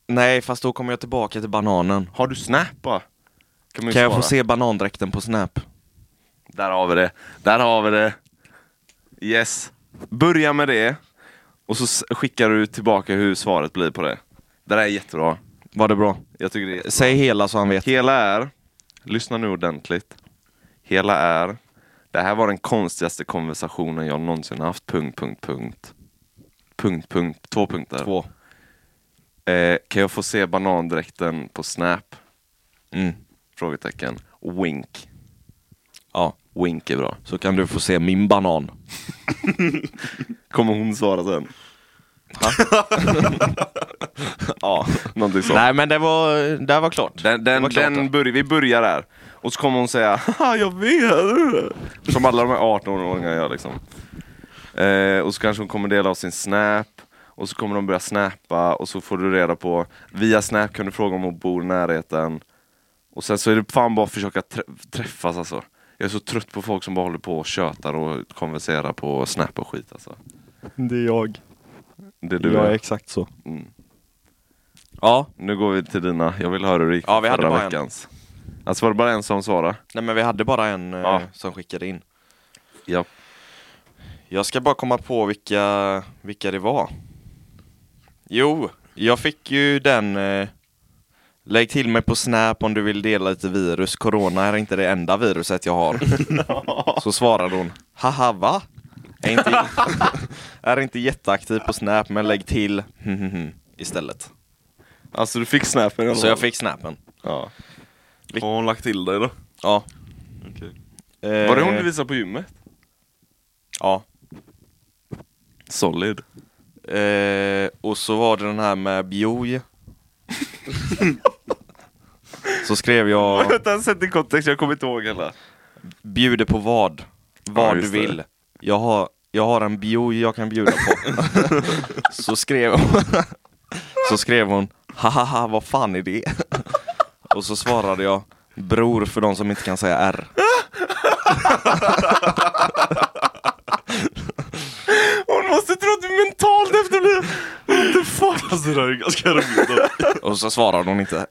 Speaker 3: Nej fast då kommer jag tillbaka till bananen.
Speaker 2: Har du Snap va? man ju
Speaker 3: Kan jag få
Speaker 2: svara.
Speaker 3: se banandräkten på Snap?
Speaker 2: Där har vi det. Där har vi det. Yes. Börja med det. Och så s- skickar du tillbaka hur svaret blir på det. Det där är jättebra.
Speaker 3: Var det bra?
Speaker 2: Jag tycker det är...
Speaker 3: Säg hela så han vet.
Speaker 2: Hela är... Lyssna nu ordentligt. Hela är... Det här var den konstigaste konversationen jag någonsin haft. Punkt, punkt, punkt. Punkt, punkt. Två punkter.
Speaker 3: Två.
Speaker 2: Eh, kan jag få se banandräkten på Snap?
Speaker 3: Mm.
Speaker 2: Frågetecken. Wink.
Speaker 3: Ja.
Speaker 2: Wink är bra.
Speaker 3: Så kan du få se min banan.
Speaker 2: Kommer hon svara sen?
Speaker 3: Ja.
Speaker 2: Någonting sånt.
Speaker 3: Nej men det var, det här var klart.
Speaker 2: Den,
Speaker 3: det
Speaker 2: den,
Speaker 3: var klart,
Speaker 2: den
Speaker 3: ja.
Speaker 2: börjar, vi börjar där. Och så kommer hon säga Haha, jag vet! Som alla de här 18-åringarna gör liksom. Eh, och så kanske hon kommer dela av sin snap. Och så kommer de börja snappa och så får du reda på Via snap kan du fråga om hon bor i närheten. Och sen så är det fan bara att försöka trä träffas alltså. Jag är så trött på folk som bara håller på och tjötar och konverserar på snap och skit alltså.
Speaker 3: Det är jag.
Speaker 2: Det är du
Speaker 3: jag är
Speaker 2: är.
Speaker 3: exakt så.
Speaker 2: Mm.
Speaker 3: Ja,
Speaker 2: Nu går vi till dina, jag vill höra hur det gick
Speaker 3: Ja, vi hade
Speaker 2: förra
Speaker 3: bara en.
Speaker 2: veckans. Alltså var det bara en som svarade?
Speaker 3: nej men vi hade bara en eh,
Speaker 2: Ja.
Speaker 3: som skickade in.
Speaker 2: Ja.
Speaker 3: Jag ska bara komma på vilka, vilka det var. Jo, jag fick ju den eh, Lägg till mig på Snap om du vill dela lite virus. Corona är inte det enda viruset jag har. Så svarade hon Haha va? Är inte, är inte jätteaktiv på Snap men lägg till istället.
Speaker 2: Alltså du fick snapen? eller?
Speaker 3: Så jag fick snappen.
Speaker 2: Ja.
Speaker 1: Har hon lagt till dig då?
Speaker 3: Ja.
Speaker 1: Okej.
Speaker 3: Eh.
Speaker 2: Var det hon du visade på gymmet?
Speaker 3: Ja.
Speaker 2: Solid.
Speaker 3: Eh, och så var det den här med Bioj. så skrev jag
Speaker 2: Vänta, sätt i kontext, jag kommer inte ihåg hela.
Speaker 3: bjuder på vad?
Speaker 2: Ja,
Speaker 3: Vad du
Speaker 2: just det.
Speaker 3: vill. Jag har, jag har en bio jag kan bjuda på. så skrev hon, Så skrev hon Hahaha, vad fan är det? Och så svarade jag Bror för de som inte kan säga R.
Speaker 2: Hon måste tro att du är mentalt efterbliven!
Speaker 1: Alltså det där är ganska roligt.
Speaker 3: Och så svarade hon inte.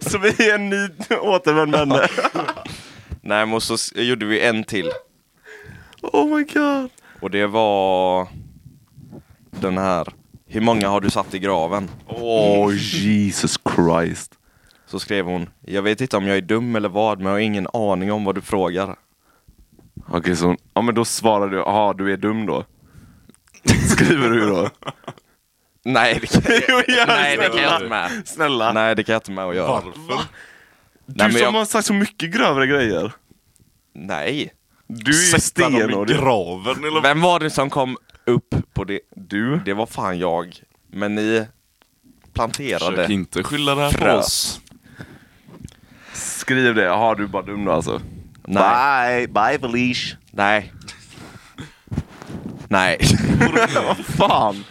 Speaker 2: Så vi är en ny återvändande.
Speaker 3: Nej, men så s- gjorde vi en till.
Speaker 2: Oh my god.
Speaker 3: Och det var den här. Hur många har du satt i graven?
Speaker 2: Oh Jesus Christ.
Speaker 3: Så skrev hon. Jag vet inte om jag är dum eller vad, men jag har ingen aning om vad du frågar.
Speaker 2: Okej, så hon, ja men då svarar du, ja du är dum då. Skriver du då?
Speaker 3: Nej, det kan
Speaker 2: Jo, gör
Speaker 3: jag, nej, det
Speaker 2: snälla.
Speaker 3: kan jag inte med.
Speaker 2: Snälla.
Speaker 3: Nej, det kan jag inte med att göra.
Speaker 1: Varför?
Speaker 2: du
Speaker 3: Nej, men
Speaker 2: som
Speaker 3: jag-
Speaker 2: har sagt så mycket grövre grejer.
Speaker 3: Nej.
Speaker 2: Du är ju
Speaker 1: Sätta dem i
Speaker 2: stenhård.
Speaker 1: graven eller
Speaker 3: Vem var det som kom upp på det? Du? Det var fan jag. Men ni
Speaker 1: Försök
Speaker 3: planterade.
Speaker 1: inte skylla det här på
Speaker 3: Frös.
Speaker 1: oss.
Speaker 2: Skriv det, jaha du är bara dum då alltså.
Speaker 3: Nej.
Speaker 2: Bye, bye Felice.
Speaker 3: Nej. Nej.
Speaker 2: Vad fan.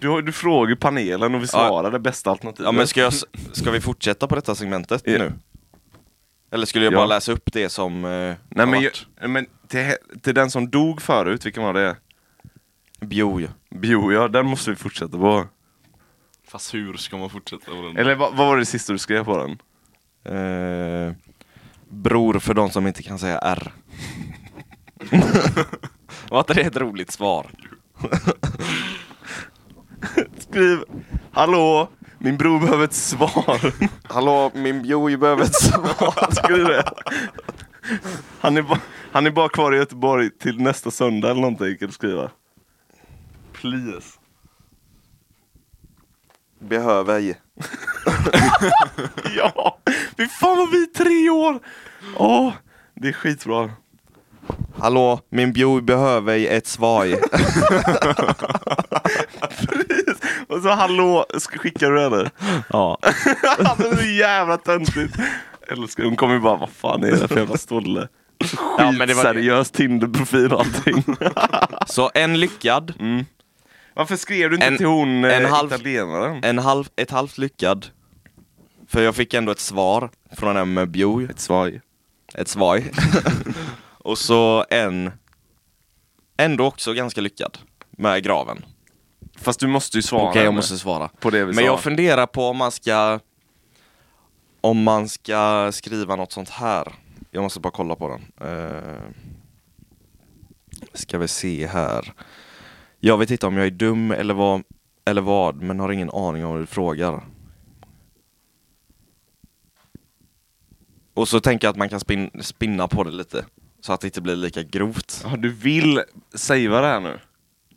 Speaker 2: Du, har- du frågar panelen och vi svarar det bästa alternativet.
Speaker 3: Ja, men ska, jag, s- ska vi fortsätta på detta segmentet
Speaker 2: Ja.
Speaker 3: nu? Eller skulle jag
Speaker 2: Ja.
Speaker 3: bara läsa upp det som eh,
Speaker 2: Nej
Speaker 3: har
Speaker 2: men,
Speaker 3: varit?
Speaker 2: ju- men till, he- till den som dog förut, vilken var det?
Speaker 3: Bjo.
Speaker 2: Bio ja, den måste vi fortsätta på.
Speaker 1: Fast hur ska man fortsätta på den?
Speaker 2: Eller vad, vad var det sista du skrev på den?
Speaker 3: Eh, bror för de som inte kan säga R. Var inte det ett roligt svar?
Speaker 2: Skriv Hallå, min bror behöver ett svar.
Speaker 3: Hallå, min Bjo behöver ett svar.
Speaker 2: Skriv det. Han är, ba, han är bara kvar i Göteborg till nästa söndag eller någonting kan du skriva. Please.
Speaker 3: Behöver ej.
Speaker 2: Ja, fy fan vad vi är tre år! Åh, det är skitbra.
Speaker 3: Hallå, min Bjo behöver ej ett svar.
Speaker 2: Och så hallå, sk- skickar du det eller?
Speaker 3: ja.
Speaker 2: det är så jävla töntigt. Älskar, hon kommer ju bara, vad fan är det för jävla stolle?
Speaker 3: Ja, men det var-
Speaker 2: Skitseriös Tinder-profil och allting.
Speaker 3: Så en lyckad,
Speaker 2: Varför skrev du inte
Speaker 3: En-
Speaker 2: till hon
Speaker 3: en
Speaker 2: en
Speaker 3: halv-
Speaker 2: italienaren?
Speaker 3: en halv, ett halvt lyckad. För jag fick ändå ett svar från den med Bjo.
Speaker 2: Ett svaj.
Speaker 3: ett svaj. och så en, ändå också ganska lyckad med graven.
Speaker 2: Fast du måste ju svara.
Speaker 3: Okej, jag
Speaker 2: nu.
Speaker 3: måste svara.
Speaker 2: På det vi
Speaker 3: Men
Speaker 2: sa.
Speaker 3: jag funderar på om man ska, om man ska skriva något sånt här. Jag måste bara kolla på den. Uh, ska vi se här. Jag vet inte om jag är dum eller vad, eller vad men har ingen aning om vad du frågar. Och så tänker jag att man kan spin, spinna på det lite. Så att det inte blir lika grovt.
Speaker 2: Ja, du vill savea det här nu?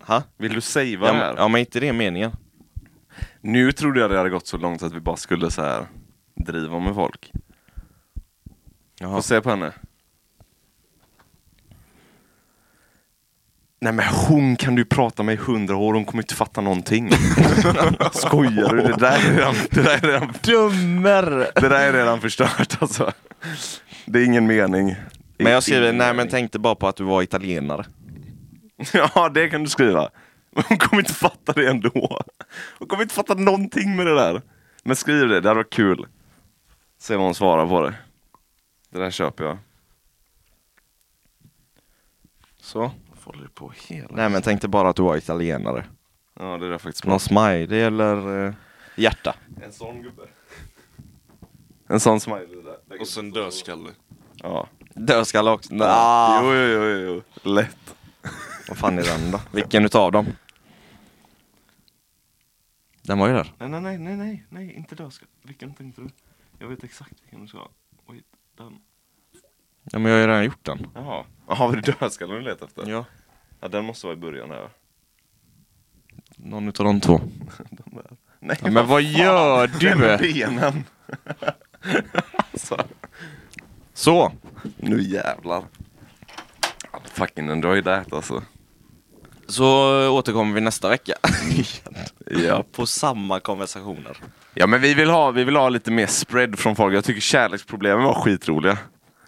Speaker 3: Ha?
Speaker 2: Vill du savea
Speaker 3: Ja,
Speaker 2: det
Speaker 3: men-
Speaker 2: här?
Speaker 3: ja men inte det är meningen.
Speaker 2: Nu trodde jag det hade gått så långt att vi bara skulle så här driva med folk.
Speaker 3: Jaha.
Speaker 2: Få se på henne. Nej men hon kan du prata med i hundra år, hon kommer inte fatta någonting. Skojar du? Det där är redan, det där är redan,
Speaker 3: Dummer!
Speaker 2: det där är redan förstört alltså. Det är ingen mening.
Speaker 3: Men jag skriver,
Speaker 2: Ingen
Speaker 3: nej men
Speaker 2: mening.
Speaker 3: tänkte bara på att du var italienare.
Speaker 2: Ja det kan du skriva. Men hon kommer inte fatta det ändå. Hon kommer inte fatta någonting med det där. Men skriv det, det hade varit kul. Se vad hon svarar på det. Det där köper jag.
Speaker 3: Så?
Speaker 1: Håller på hela...
Speaker 3: Nej men tänkte bara att du var italienare.
Speaker 2: Ja det där är faktiskt bra.
Speaker 3: Någon smiley eller eh, hjärta?
Speaker 2: En sån gubbe. En sån smiley där.
Speaker 1: Och sen dödskalle.
Speaker 2: Ja.
Speaker 3: Dödskalle också? Ah. Nej.
Speaker 1: Ah.
Speaker 2: Jo, jo, jo, jo. Lätt.
Speaker 3: Vad fan är den då? Vilken utav dem? Den var ju där.
Speaker 1: Nej, nej, nej, nej, nej, nej, inte dödskalle. Vilken tänkte du? Jag vet exakt vilken du ska. Oj, den.
Speaker 3: Ja men jag har ju redan gjort den.
Speaker 2: Jaha. Jaha, var det dödskallen du letade efter?
Speaker 3: Ja.
Speaker 2: Ja, den måste vara i början här.
Speaker 3: Någon utav de två.
Speaker 2: Den där. Nej,
Speaker 3: Ja, men vad gör
Speaker 2: Den med
Speaker 3: du?
Speaker 2: benen. alltså.
Speaker 3: Så!
Speaker 2: Nu jävlar. Fucking enjoy that alltså.
Speaker 3: Så eh, återkommer vi nästa vecka.
Speaker 2: Ja.
Speaker 3: på samma konversationer.
Speaker 2: ja men vi vill, ha, vi vill ha lite mer spread från folk. Jag tycker kärleksproblemen var skitroliga.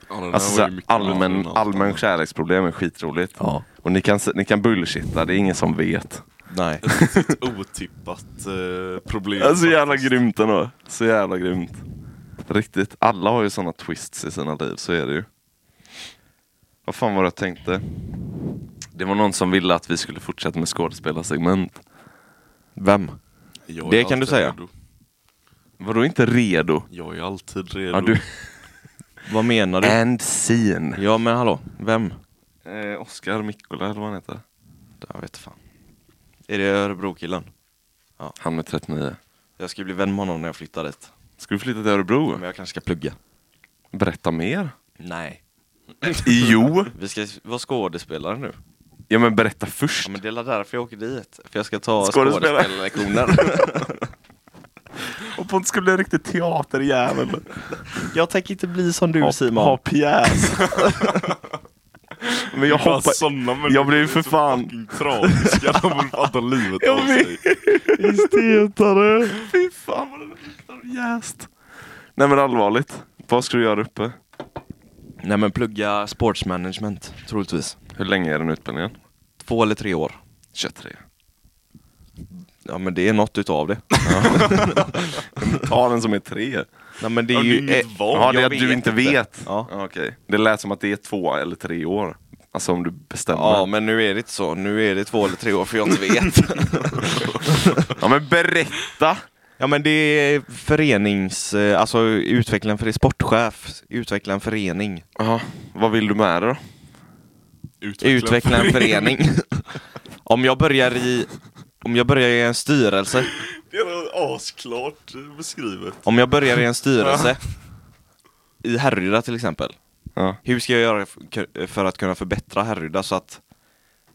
Speaker 1: Ja, den
Speaker 2: Alltså
Speaker 1: där
Speaker 2: så
Speaker 1: var
Speaker 2: här,
Speaker 1: ju mycket bättre än
Speaker 2: allmän,
Speaker 1: allt
Speaker 2: allmän
Speaker 1: annat.
Speaker 2: kärleksproblem är skitroligt.
Speaker 3: Ja.
Speaker 2: Och ni kan, s- ni kan bullshitta, det är ingen som vet.
Speaker 3: Nej.
Speaker 1: Ett riktigt otippat eh, problem.
Speaker 2: Ja, Alltså, så jävla
Speaker 1: faktiskt.
Speaker 2: grymt ändå. Så jävla grymt. Riktigt. Alla har ju sådana twists i sina liv, så är det ju. Vad fan var det jag tänkte? Det var någon som ville att vi skulle fortsätta med skådespelarsegment.
Speaker 3: Vem?
Speaker 1: Jag är
Speaker 3: Det kan du
Speaker 1: alltid
Speaker 3: säga.
Speaker 1: redo.
Speaker 2: Vadå inte redo?
Speaker 1: Jag är alltid redo.
Speaker 2: Ja, du...
Speaker 3: Vad menar du?
Speaker 2: And scene.
Speaker 3: Ja men hallå, vem?
Speaker 2: Eh, Oskar Mikkola eller vad han heter.
Speaker 3: Jag vet fan. Är det Örebrokillen?
Speaker 2: Han med 39.
Speaker 3: Jag ska bli vän med honom när jag flyttar dit.
Speaker 2: Ska du flytta till Örebro?
Speaker 3: Men jag kanske ska plugga.
Speaker 2: Berätta mer.
Speaker 3: Nej.
Speaker 2: jo!
Speaker 3: Vi ska vara skådespelare nu.
Speaker 2: Ja men berätta först.
Speaker 3: Ja men det är därför jag åker dit. För jag ska ta
Speaker 2: Skådespelare.
Speaker 3: skådespelarlektioner.
Speaker 2: Och Pontus ska bli en riktig teaterjävel.
Speaker 3: jag tänker inte bli som du Simon.
Speaker 2: Ha pjäs. men jag
Speaker 1: Bara
Speaker 2: hoppar...
Speaker 1: såna människor
Speaker 2: jag blir ju för
Speaker 1: är så
Speaker 2: fan-
Speaker 1: fucking tragiska. De vill fan ta livet
Speaker 2: Jag
Speaker 1: av
Speaker 2: vet.
Speaker 1: sig.
Speaker 2: Istetare! Fy fan vad den luktar jäst. Nej men allvarligt. Vad ska du göra uppe?
Speaker 3: Nej men plugga sportsmanagement, troligtvis.
Speaker 2: Hur länge är den utbildningen?
Speaker 3: Två eller tre år.
Speaker 2: 23.
Speaker 3: Ja men det är något utav det.
Speaker 2: Ta den som är tre.
Speaker 3: Nej men det
Speaker 1: Ja,
Speaker 3: är
Speaker 1: det
Speaker 3: ju...
Speaker 1: är inget
Speaker 3: eh,
Speaker 1: val.
Speaker 2: Ja, det är
Speaker 3: jag
Speaker 2: att du inte vet.
Speaker 3: Ja.
Speaker 2: okej. Det lät som att det är två eller tre år. Alltså om du bestämmer.
Speaker 3: Ja
Speaker 2: Ja,
Speaker 3: men nu är det inte så, nu är det två eller tre år för jag inte vet.
Speaker 2: men berätta!
Speaker 3: ja men det är förenings, eh, alltså utveckla en förening, sportchef, utveckla en förening.
Speaker 2: Ja, vad vill du med det då?
Speaker 3: Utveckla en förening. om jag börjar i, om jag börjar i en styrelse,
Speaker 1: Det är asklart eh, beskrivet.
Speaker 3: om jag börjar i en styrelse, i Härryda till exempel.
Speaker 2: Ja.
Speaker 3: Hur ska jag göra f- för att kunna förbättra Härryda så att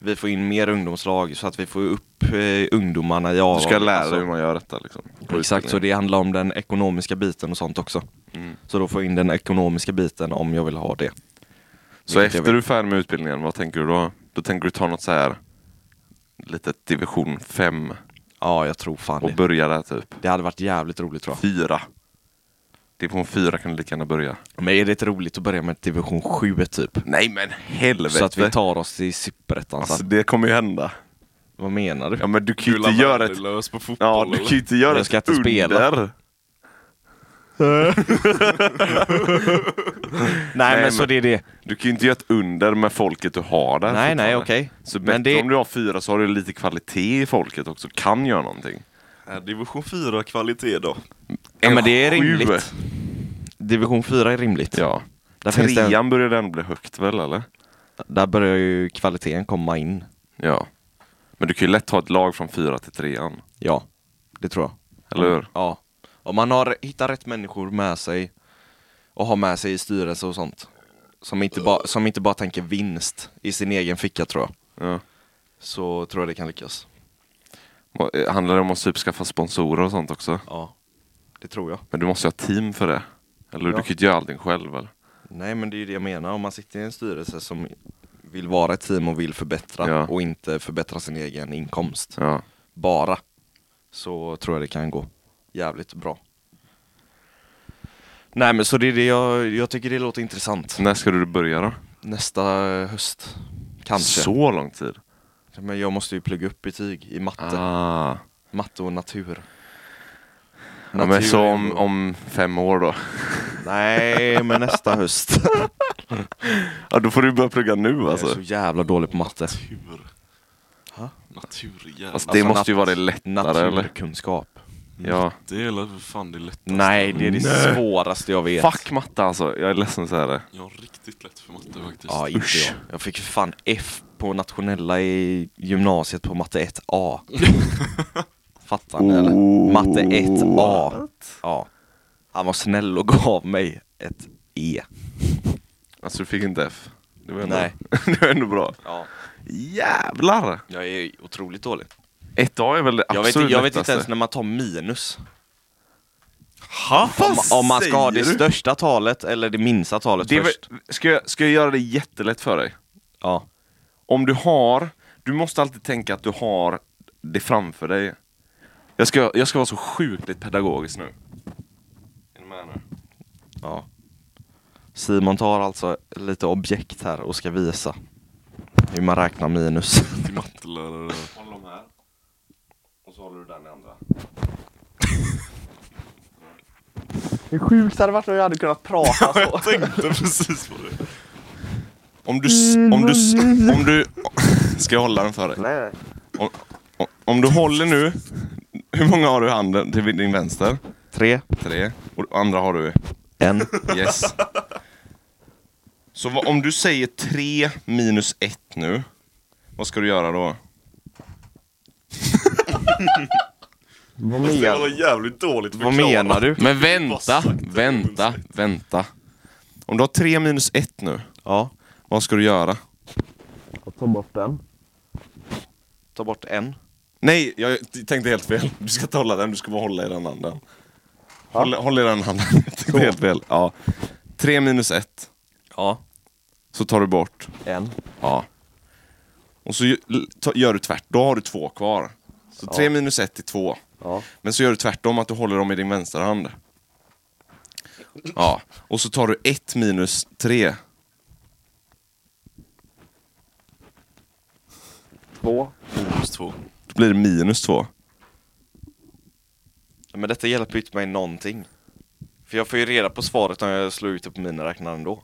Speaker 3: vi får in mer ungdomslag, så att vi får upp eh, ungdomarna i
Speaker 2: Du ska
Speaker 3: A-laget,
Speaker 2: lära
Speaker 3: alltså.
Speaker 2: dig hur man gör detta liksom. På
Speaker 3: Exakt, så
Speaker 2: utbildningen.
Speaker 3: det handlar om den ekonomiska biten och sånt också.
Speaker 2: Mm.
Speaker 3: Så då får jag in den ekonomiska biten om jag vill ha det.
Speaker 2: Så
Speaker 3: Vilket jag
Speaker 2: efter du är färdig med utbildningen, vad tänker du då? Då tänker du ta något så här lite division 5
Speaker 3: Ja, jag tror fan
Speaker 2: och
Speaker 3: det.
Speaker 2: börja där typ.
Speaker 3: Det hade varit jävligt roligt tror jag.
Speaker 2: Fyra. Division 4 kan du lika gärna börja.
Speaker 3: Men är det inte roligt att börja med division 7 typ?
Speaker 2: Nej men helvete!
Speaker 3: Så att vi tar oss till superettan
Speaker 2: alltså,
Speaker 3: alltså,
Speaker 2: det kommer ju hända.
Speaker 3: Vad menar du?
Speaker 2: Ja men du kan ju inte göra ett...
Speaker 1: Lös på fotboll
Speaker 2: Ja, du kan ju
Speaker 1: eller?
Speaker 2: inte göra
Speaker 3: Jag ska inte spela.
Speaker 2: under.
Speaker 3: nej men,
Speaker 2: men-
Speaker 3: så det är det.
Speaker 2: Du kan ju inte göra ett under med folket du har där.
Speaker 3: Nej nej
Speaker 2: fortfarande.
Speaker 3: okej.
Speaker 2: Så bättre
Speaker 3: Men det,
Speaker 2: om du har fyra så har du lite kvalitet i folket också, kan göra någonting.
Speaker 1: Ja, Division 4 kvalitet då.
Speaker 3: ja, men det är
Speaker 2: En sju.
Speaker 3: rimligt. Division 4 är rimligt.
Speaker 2: Ja.
Speaker 3: Där, finns det en,
Speaker 2: Trean börjar den bli högt väl eller?
Speaker 3: där börjar ju kvaliteten komma in.
Speaker 2: Ja. Men du kan ju lätt ta ett lag från fyra till trean.
Speaker 3: Ja, det tror jag.
Speaker 2: Eller hur?
Speaker 3: Ja, om man har hittat rätt människor med sig och har med sig i styrelse och sånt. Som inte, ba, som inte bara tänker vinst i sin egen ficka tror jag.
Speaker 2: Ja.
Speaker 3: Så tror jag det kan lyckas.
Speaker 2: Och, eh, Handlar det om att typ skaffa sponsorer och sånt också?
Speaker 3: Ja, det tror jag.
Speaker 2: Men du måste ha team för det. Eller
Speaker 3: Ja.
Speaker 2: du kan ju inte göra allting själv väl?
Speaker 3: Nej men det är ju det jag menar, om man sitter i en styrelse som vill vara ett team och vill förbättra
Speaker 2: Ja.
Speaker 3: och inte förbättra sin egen inkomst.
Speaker 2: Ja.
Speaker 3: Bara. Så tror jag det kan gå jävligt bra. Nej men så det är det jag, jag tycker det låter intressant.
Speaker 2: När ska du börja då?
Speaker 3: Nästa höst. Kanske.
Speaker 2: Så lång tid?
Speaker 3: Men jag måste ju plugga upp betyg i matte.
Speaker 2: Ah.
Speaker 3: Matte och natur.
Speaker 2: Ja, men så
Speaker 3: är-
Speaker 2: om, om fem år då?
Speaker 3: Nej, men nästa höst.
Speaker 2: Ja, då får du börja plugga nu
Speaker 3: Jag är så
Speaker 2: alltså.
Speaker 3: jävla dålig på matte.
Speaker 1: Tur.
Speaker 3: Ha?
Speaker 1: Natur jävlar.
Speaker 2: Fast det
Speaker 3: Alltså,
Speaker 2: måste ju
Speaker 3: nat-
Speaker 2: vara det lättare eller?
Speaker 3: Naturkunskap.
Speaker 2: Ja.
Speaker 1: Det är väl fan det lättaste.
Speaker 3: Nej, det är det
Speaker 2: Nej.
Speaker 3: svåraste jag vet.
Speaker 2: Fuck matte alltså, jag är ledsen att säga det.
Speaker 1: Jag har riktigt lätt för matte faktiskt.
Speaker 3: Ja, inte
Speaker 2: Usch.
Speaker 3: jag. Jag fick för fan F på nationella i gymnasiet på matte 1A. Fattar ni eller?
Speaker 2: Oh.
Speaker 3: Matte 1A. Ja. Han var snäll och gav mig ett E.
Speaker 2: Alltså du fick inte F. Det var ändå,
Speaker 3: Nej.
Speaker 2: det var ändå bra.
Speaker 3: Ja.
Speaker 2: Jävlar!
Speaker 3: Jag är otroligt dålig.
Speaker 2: 1A är väl det
Speaker 3: Jag vet,
Speaker 2: absolut alltså.
Speaker 3: jag vet inte
Speaker 2: lättaste.
Speaker 3: ens när man tar minus.
Speaker 2: Ha,
Speaker 3: Om, om man ska ha det
Speaker 2: säger du?
Speaker 3: största talet eller det minsta talet
Speaker 2: Det är väl-
Speaker 3: först.
Speaker 2: ska, jag, ska jag göra det jättelätt för dig?
Speaker 3: Ja.
Speaker 2: Om du har, du måste alltid tänka att du har det framför dig. Jag ska, jag ska vara så sjukligt pedagogisk nu. Är ni med nu?
Speaker 3: ja. Simon tar alltså lite objekt här och ska visa hur man räknar minus.
Speaker 1: Till mattelärare.
Speaker 2: Håll dem här.
Speaker 3: så håller du den i andra.
Speaker 4: Hur sjukt hade det varit om jag hade kunnat prata så?
Speaker 1: Jag tänkte precis på det.
Speaker 2: Om du... s- Om du... s- Om du... Ska jag hålla den för dig?
Speaker 4: Nej, nej.
Speaker 2: Om- Om du håller nu... Hur många har du i handen till din vänster?
Speaker 3: Tre,
Speaker 2: Tre. Och andra har du.
Speaker 3: en.
Speaker 2: Yes. Så vad, om du säger tre minus ett nu, vad ska du göra då?
Speaker 4: Vad
Speaker 1: Det var
Speaker 4: menar
Speaker 1: jävligt dåligt
Speaker 3: Vad menar du?
Speaker 2: Men
Speaker 1: Bara
Speaker 2: vänta,
Speaker 1: sagt det.
Speaker 2: vänta, vänta. Om du har tre minus ett nu,
Speaker 3: Ja,
Speaker 2: vad ska du göra?
Speaker 4: Ta bort den.
Speaker 3: ta bort en.
Speaker 2: Nej, jag tänkte helt fel. Du ska inte hålla den, du ska bara hålla i den handen. Håll, håll i den handen. Jag tänkte helt fel. Ja. Tre minus ett,
Speaker 3: Ja,
Speaker 2: så tar du bort.
Speaker 3: en.
Speaker 2: Ja. Och så ju- l- ta- gör du tvärt, då har du två kvar. Så tre minus ett är två.
Speaker 4: Ja.
Speaker 2: Men så gör du tvärtom, att du håller dem i din vänsterhand. Ja, och så tar du ett minus tre.
Speaker 4: Två.
Speaker 1: Minus två.
Speaker 2: Då blir det minus två.
Speaker 3: Men detta hjälper ju inte mig någonting. För jag får ju reda på svaret om jag slår ut det på miniräknaren ändå.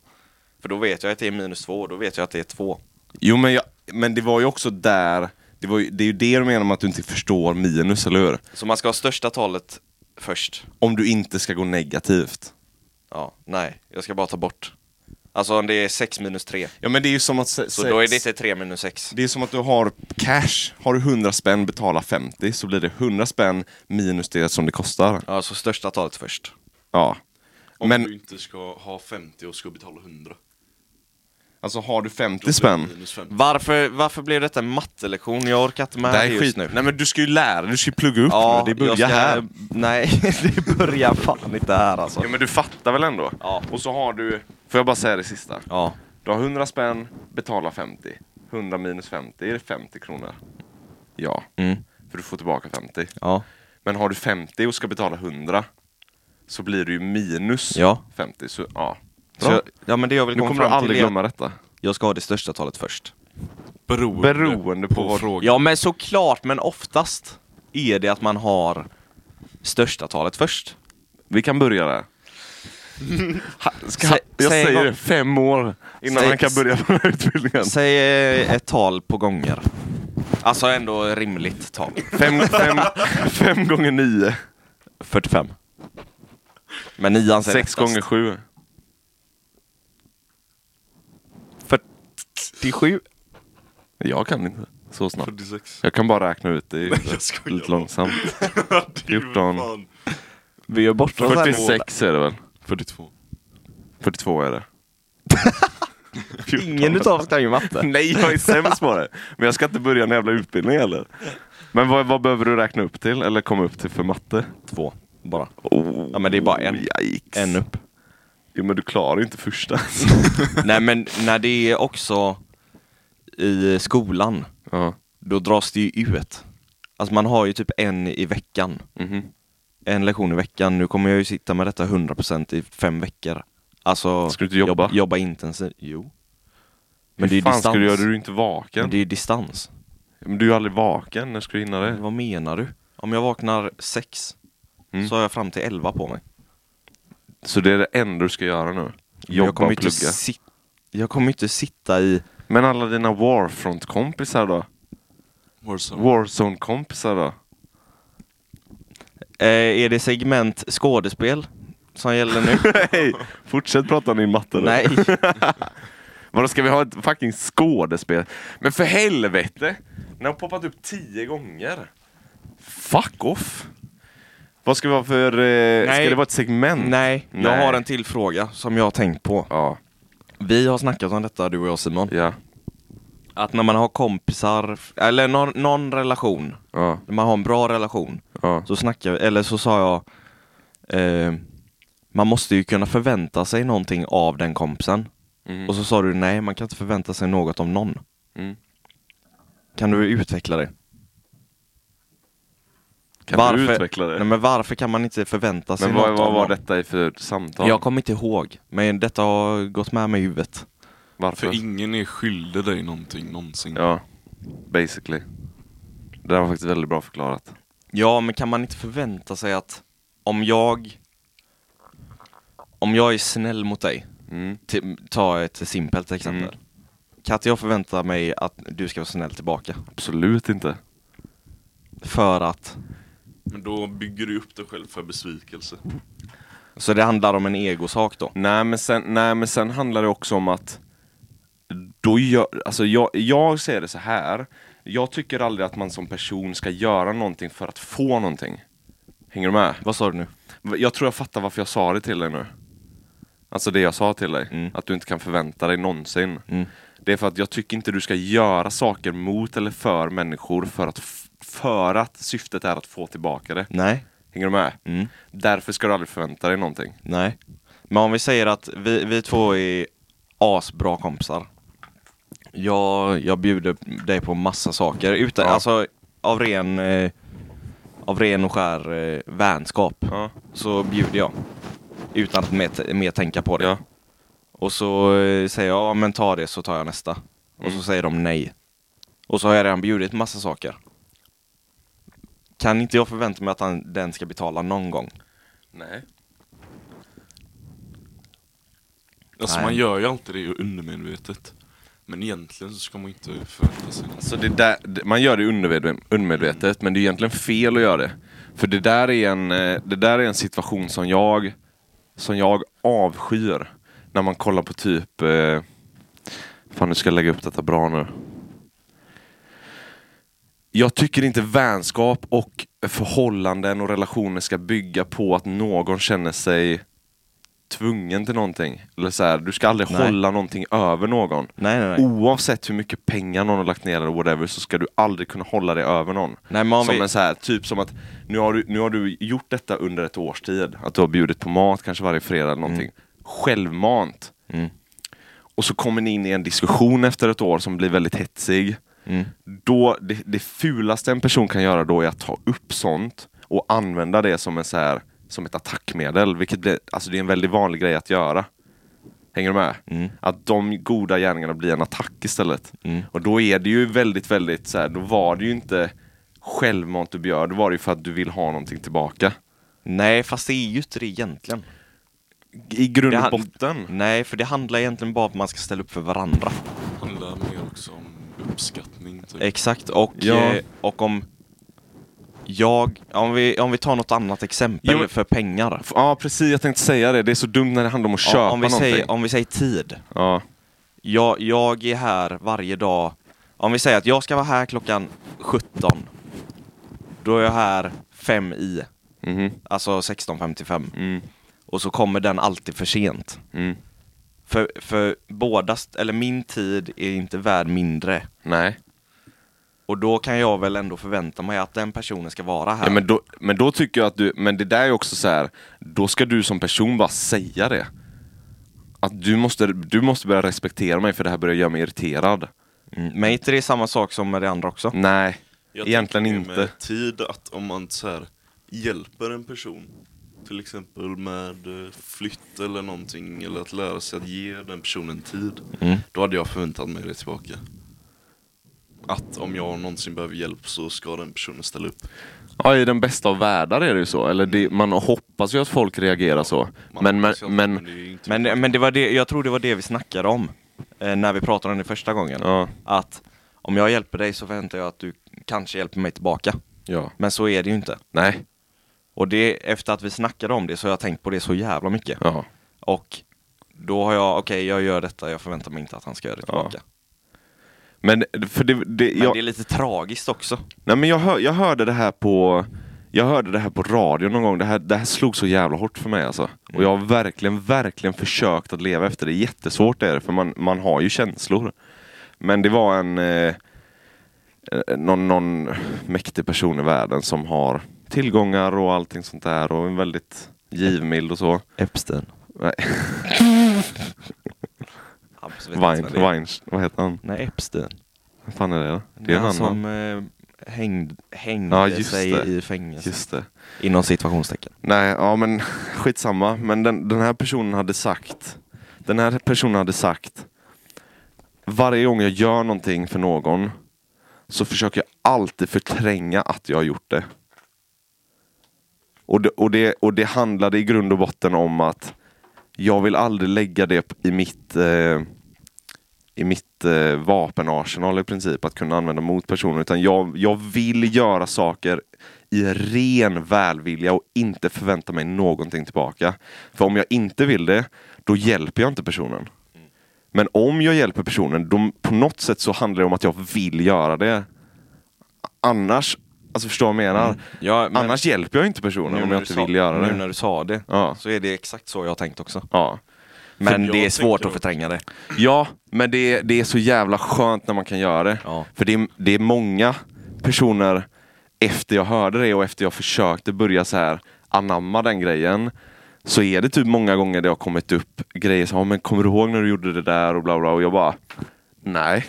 Speaker 3: För då vet jag att det är minus två, och då vet jag att det är två.
Speaker 2: Jo, men, jag, men det var ju också där... Det, var ju, det är ju det du menar med att du inte förstår minus, eller hur?
Speaker 3: Så man ska ha största talet först.
Speaker 2: Om du inte ska gå negativt.
Speaker 3: Ja, nej, jag ska bara ta bort. Alltså om det är sex minus tre,
Speaker 2: Ja, men det är ju som att... se-
Speaker 3: så
Speaker 2: se-
Speaker 3: då är det inte tre minus sex.
Speaker 2: Det är som att du har cash. Har du 100 spänn, betala 50, så blir det 100 spänn minus det som det kostar.
Speaker 3: Ja, så största talet först.
Speaker 2: Ja.
Speaker 1: Om
Speaker 2: Men
Speaker 1: du inte ska ha 50 och ska betala 100.
Speaker 2: alltså, har du
Speaker 1: då blir
Speaker 2: 50
Speaker 1: det
Speaker 2: spänn,
Speaker 1: Minus 50.
Speaker 3: Varför, varför blev detta en mattelektion? Jag orkar inte med
Speaker 2: det
Speaker 3: det,
Speaker 2: här är skit
Speaker 3: just nu.
Speaker 2: nu. Nej men du ska ju lära dig, du ska ju plugga upp nu. Det börjar
Speaker 3: jag ska-
Speaker 2: här.
Speaker 3: Nej, det börjar fan inte här alltså.
Speaker 2: Ja men du fattar väl ändå?
Speaker 3: Ja.
Speaker 2: Och så har du, får jag bara säga det sista?
Speaker 3: Ja,
Speaker 2: Du har 100 spänn, betala 50. 100 minus 50, är det 50 kronor? Ja.
Speaker 3: Mm.
Speaker 2: För du får tillbaka 50.
Speaker 3: ja,
Speaker 2: Men har du 50 och ska betala 100 så blir det ju minus
Speaker 3: ja.
Speaker 2: 50. Så, ja.
Speaker 3: Så jag, ja men det jag vill
Speaker 2: nu
Speaker 3: komma
Speaker 2: kommer du
Speaker 3: fram till
Speaker 2: aldrig
Speaker 3: är att
Speaker 2: glömma detta.
Speaker 3: jag ska ha det största talet först.
Speaker 1: Beroende,
Speaker 2: Beroende på vad-
Speaker 1: frågan.
Speaker 3: Ja men såklart, men oftast är det att man har största talet först.
Speaker 2: Vi kan börja där. Ha- Ska,
Speaker 3: Sä-
Speaker 2: jag
Speaker 3: säg
Speaker 2: säger
Speaker 3: vad-
Speaker 2: det, fem år innan
Speaker 3: Säg-
Speaker 2: han kan börja på den här utbildningen.
Speaker 3: Säg eh, ett tal på gånger. Alltså ändå rimligt tal.
Speaker 2: Fem, fem, fem gånger nio.
Speaker 3: 45. Men nian säger
Speaker 2: Sex gånger sju.
Speaker 3: 47.
Speaker 2: Jag kan inte så snabbt.
Speaker 1: 46.
Speaker 2: Jag kan bara räkna ut det
Speaker 1: jag skojar.
Speaker 2: lite långsamt.
Speaker 1: Det är ju
Speaker 2: 14.
Speaker 1: fan.
Speaker 3: Vi gör bort
Speaker 2: 46 är det väl?
Speaker 1: 42.
Speaker 2: 42 är det.
Speaker 3: Ingen utav oss kan ju matte.
Speaker 2: Nej, jag är sämst på det. Men jag ska inte börja en jävla utbildning heller. Men vad, vad behöver du räkna upp till? Eller komma upp till för matte?
Speaker 3: Två, bara.
Speaker 2: Oh,
Speaker 3: Ja men det är bara en.
Speaker 2: Yikes.
Speaker 3: En upp.
Speaker 2: Jo, men du klarar ju inte första.
Speaker 3: Nej men när det är också i skolan,
Speaker 2: ja.
Speaker 3: då dras det ju ut. Alltså man har ju typ en i veckan.
Speaker 2: Mhm.
Speaker 3: En lektion i veckan. Nu kommer jag ju sitta med detta 100% i fem veckor. Alltså,
Speaker 2: Ska du inte jobba?
Speaker 3: jobb- jobba intensivt. Jo. Men det är
Speaker 2: Hur
Speaker 3: ju
Speaker 2: fan
Speaker 3: distans.
Speaker 2: ska du göra? Du är ju inte
Speaker 3: Men
Speaker 2: vaken.
Speaker 3: det är ju distans.
Speaker 2: Men du är ju aldrig vaken. När ska du hinna det?
Speaker 3: Vad menar du? Om jag vaknar sex,
Speaker 2: Mm.
Speaker 3: så har jag fram till elva på mig.
Speaker 2: Så det är det enda du ska göra nu?
Speaker 3: Men
Speaker 2: Jobba
Speaker 3: jag kommer
Speaker 2: och
Speaker 3: ju inte
Speaker 2: plugga.
Speaker 3: sit- Jag kommer ju inte sitta i...
Speaker 2: Men alla dina Warfront-kompisar då?
Speaker 1: Warzone.
Speaker 2: Warzone-kompisar då?
Speaker 3: Eh, är det segment skådespel som gäller nu?
Speaker 2: Hej! Fortsätt prata om din matte då.
Speaker 3: Nej.
Speaker 2: Vadå, ska vi ha ett fucking skådespel? Men för helvete! Den har poppat upp tio gånger. Fuck off! Vad ska vi ha för... Eh,
Speaker 3: Nej.
Speaker 2: ska det vara ett segment?
Speaker 3: Nej, jag
Speaker 2: Nej.
Speaker 3: har en till fråga som jag har tänkt på.
Speaker 2: Ja,
Speaker 3: Vi har snackat om detta, du och jag Simon.
Speaker 2: ja,
Speaker 3: Att när man har kompisar, eller någon, någon relation,
Speaker 2: ja,
Speaker 3: när man har en bra relation,
Speaker 2: ja.
Speaker 3: så snackar vi, eller så sa jag, eh, man måste ju kunna förvänta sig någonting av den kompisen.
Speaker 2: Mm.
Speaker 3: Och så sa du nej, man kan inte förvänta sig något om någon.
Speaker 2: Mm.
Speaker 3: Kan du utveckla det?
Speaker 2: Kan du utveckla det?
Speaker 3: Nej, men varför kan man inte förvänta sig
Speaker 2: men vad,
Speaker 3: något
Speaker 2: vad
Speaker 3: av
Speaker 2: var
Speaker 3: någon?
Speaker 2: detta i för samtal?
Speaker 3: Jag kommer inte ihåg, men detta har gått med mig i huvudet.
Speaker 2: Varför?
Speaker 1: För ingen är skyldig dig någonting någonsin.
Speaker 2: Ja, basically. Det där var faktiskt väldigt bra förklarat.
Speaker 3: Ja, men kan man inte förvänta sig att om jag om jag är snäll mot dig,
Speaker 2: Mm.
Speaker 3: till, ta ett simpelt exempel.
Speaker 2: Mm.
Speaker 3: Kan inte jag förvänta mig att du ska vara snäll tillbaka?
Speaker 2: Absolut inte.
Speaker 3: För att,
Speaker 1: Men då bygger du upp dig själv för besvikelse.
Speaker 3: så det handlar om en egosak då?
Speaker 2: Nej men sen, nej, men sen handlar det också om att då gör, alltså jag, jag ser det så här. Jag tycker aldrig att man som person ska göra någonting för att få någonting. Hänger du med?
Speaker 3: Vad sa du nu?
Speaker 2: Jag tror jag fattar varför jag sa det till dig nu. Alltså det jag sa till dig.
Speaker 3: Mm.
Speaker 2: Att du inte kan förvänta dig någonsin.
Speaker 3: Mm.
Speaker 2: Det är för att jag tycker inte du ska göra saker mot eller för människor för att, f- för att syftet är att få tillbaka det.
Speaker 3: Nej.
Speaker 2: Hänger du med?
Speaker 3: Mm.
Speaker 2: Därför ska du aldrig förvänta dig någonting.
Speaker 3: Nej. Men om vi säger att vi, vi två är asbra kompisar. Jag, jag bjuder dig på massa saker, utan,
Speaker 2: Ja.
Speaker 3: alltså av ren, eh, av ren och skär eh, vänskap.
Speaker 2: Ja.
Speaker 3: Så bjuder jag. Utan att mer, mer tänka på det.
Speaker 2: Ja.
Speaker 3: Och så eh, säger jag, ja men ta det så tar jag nästa. Och
Speaker 2: Mm.
Speaker 3: så säger de nej. Och så har jag redan bjudit massa saker. Kan inte jag förvänta mig att han, den ska betala någon gång?
Speaker 2: Nej.
Speaker 1: Alltså
Speaker 3: Nej.
Speaker 1: man gör ju alltid det undermedvetet. Men egentligen så ska man inte förvänta sig något.
Speaker 2: Alltså det där, det- man gör det undermedvetet, undermedvetet men det är egentligen fel att göra det. För det där är en, eh, det där är en situation som jag, som jag avskyr. När man kollar på typ... eh, Fan nu ska jag lägga upp detta bra nu. Jag tycker inte vänskap och förhållanden och relationer ska bygga på att någon känner sig tvungen till någonting. Eller så här, du ska aldrig
Speaker 3: Nej.
Speaker 2: hålla någonting över någon.
Speaker 3: Nej, nej, nej.
Speaker 2: Oh. Oavsett hur mycket pengar någon har lagt ner eller whatever så ska du aldrig kunna hålla dig över någon.
Speaker 3: Nej, men om
Speaker 2: som
Speaker 3: vi-
Speaker 2: en så här, typ som att nu har, du, nu har du gjort detta under ett års tid. Att du har bjudit på mat kanske varje fredag eller någonting. Självmant.
Speaker 3: Mm.
Speaker 2: Och så kommer ni in i en diskussion efter ett år som blir väldigt hetsig.
Speaker 3: Mm.
Speaker 2: Då, det, det fulaste en person kan göra då är att ta upp sånt och använda det som, en så här, som ett attackmedel. Vilket blir, alltså det är en väldigt vanlig grej att göra. Hänger du med?
Speaker 3: Mm.
Speaker 2: Att de goda gärningarna blir en attack istället. Och då är det ju väldigt, väldigt så här, då var det ju inte självmant du bjöd, då var det ju för att du vill ha någonting tillbaka.
Speaker 3: Nej, fast det är ju inte det egentligen.
Speaker 2: I grund
Speaker 3: Det
Speaker 2: och
Speaker 3: han-
Speaker 2: botten.
Speaker 3: Nej, för det handlar egentligen bara om att man ska ställa upp för varandra.
Speaker 1: Det handlar mer också om uppskattning. Typ.
Speaker 3: Exakt, och,
Speaker 2: Ja.
Speaker 3: eh, och om jag, om vi, om vi tar något annat exempel
Speaker 2: Jo, men-
Speaker 3: för pengar.
Speaker 2: F- Ja precis, jag tänkte säga det. Det är så dumt när det handlar om att köpa
Speaker 3: om, om, vi
Speaker 2: någonting.
Speaker 3: säger, om vi säger tid.
Speaker 2: Ja.
Speaker 3: Jag, jag är här varje dag. Om vi säger att jag ska vara här klockan 17. Då är jag här fem i,
Speaker 2: Mhm.
Speaker 3: alltså 16.55.
Speaker 2: Mm.
Speaker 3: Och så kommer den alltid för sent.
Speaker 2: Mm.
Speaker 3: För, för bådas, eller min tid är inte värd mindre.
Speaker 2: Nej.
Speaker 3: Och då kan jag väl ändå förvänta mig att den personen ska vara här.
Speaker 2: Ja, men, då, men då tycker jag att du, men det där är också så här. då ska du som person bara säga det. Att du måste, du måste börja respektera mig för det här börjar göra mig irriterad.
Speaker 3: Mm, men inte det är samma sak som med det andra också?
Speaker 2: Nej,
Speaker 1: Jag
Speaker 2: egentligen
Speaker 1: tänker
Speaker 2: inte.
Speaker 1: Med tid att om man så här, hjälper en person till exempel med eh, flytt eller någonting eller att lära sig att ge den personen tid.
Speaker 2: Mm.
Speaker 1: Då hade jag förväntat mig det tillbaka. Att om jag någonsin behöver hjälp så ska den personen ställa upp.
Speaker 2: Ja, i den bästa av världar är det ju så. Eller det, man hoppas ju att folk reagerar så.
Speaker 1: Man
Speaker 2: men, men,
Speaker 1: hoppas ju att-
Speaker 2: men,
Speaker 1: det är ju inte...
Speaker 3: Men, men det var det, jag tror det var det vi snackade om eh, när vi pratade om det första gången.
Speaker 2: ja.
Speaker 3: Att om jag hjälper dig så förväntar jag att du kanske hjälper mig tillbaka.
Speaker 2: ja.
Speaker 3: Men så är det ju inte.
Speaker 2: Nej.
Speaker 3: Och det, efter att vi snackade om det så har jag tänkt på det så jävla mycket.
Speaker 2: Ja.
Speaker 3: Och då har jag, okej jag gör detta, jag förväntar mig inte att han ska göra det
Speaker 2: Ja.
Speaker 3: tillbaka.
Speaker 2: Men, för det, det,
Speaker 3: Men
Speaker 2: jag,
Speaker 3: det är lite tragiskt också.
Speaker 2: Nej, men jag, hör, jag hörde det här på jag hörde det här på radio någon gång. Det här, det här slog så jävla hårt för mig alltså. Och jag har verkligen, verkligen försökt att leva efter det. Jättesvårt är det, för man, man har ju känslor. Men det var en eh, eh, någon, någon mäktig person i världen som har tillgångar och allting sånt där och en väldigt givmild och så.
Speaker 3: Epstein.
Speaker 2: Nej,
Speaker 3: Absolut
Speaker 2: Wein, Wein, vad heter han?
Speaker 3: Nej, Epstein.
Speaker 2: Vad fan är det då?
Speaker 3: Det
Speaker 2: Det
Speaker 3: är
Speaker 2: är en
Speaker 3: han
Speaker 2: annan.
Speaker 3: som eh, hängd, hängde
Speaker 2: Ja, just
Speaker 3: sig
Speaker 2: det.
Speaker 3: i fängelse.
Speaker 2: Just det.
Speaker 3: Inom situationstecken.
Speaker 2: Nej, ja men skitsamma. Men den, den här personen hade sagt Den här personen hade sagt Varje gång jag gör någonting för någon Så försöker jag alltid förtränga att jag har gjort det. Och det, och, det, och det handlade i grund och botten om att jag vill aldrig lägga det i mitt, eh, i mitt eh, vapenarsenal i princip, att kunna använda mot personer. Utan jag, jag vill göra saker i ren välvilja och inte förvänta mig någonting tillbaka. För om jag inte vill det, då hjälper jag inte personen. Men om jag hjälper personen, då på något sätt så handlar det om att jag vill göra det. Annars, alltså förstår du vad jag menar?
Speaker 3: Mm. Ja, men
Speaker 2: Annars hjälper jag inte personen om jag
Speaker 3: du
Speaker 2: inte
Speaker 3: sa,
Speaker 2: vill göra
Speaker 3: nu
Speaker 2: det.
Speaker 3: när du sa det,
Speaker 2: Ja.
Speaker 3: så är det exakt så jag har tänkt också.
Speaker 2: Ja.
Speaker 3: Men
Speaker 1: jag
Speaker 3: det är svårt
Speaker 1: tänker-
Speaker 3: att förtränga det.
Speaker 2: ja, men det, det är så jävla skönt när man kan göra det.
Speaker 3: Ja.
Speaker 2: För det är, det är många personer efter jag hörde det och efter jag försökte börja så här anamma den grejen så är det typ många gånger det har kommit upp grejer som "Ja, men kommer du ihåg när du gjorde det där och bla bla och jag bara nej,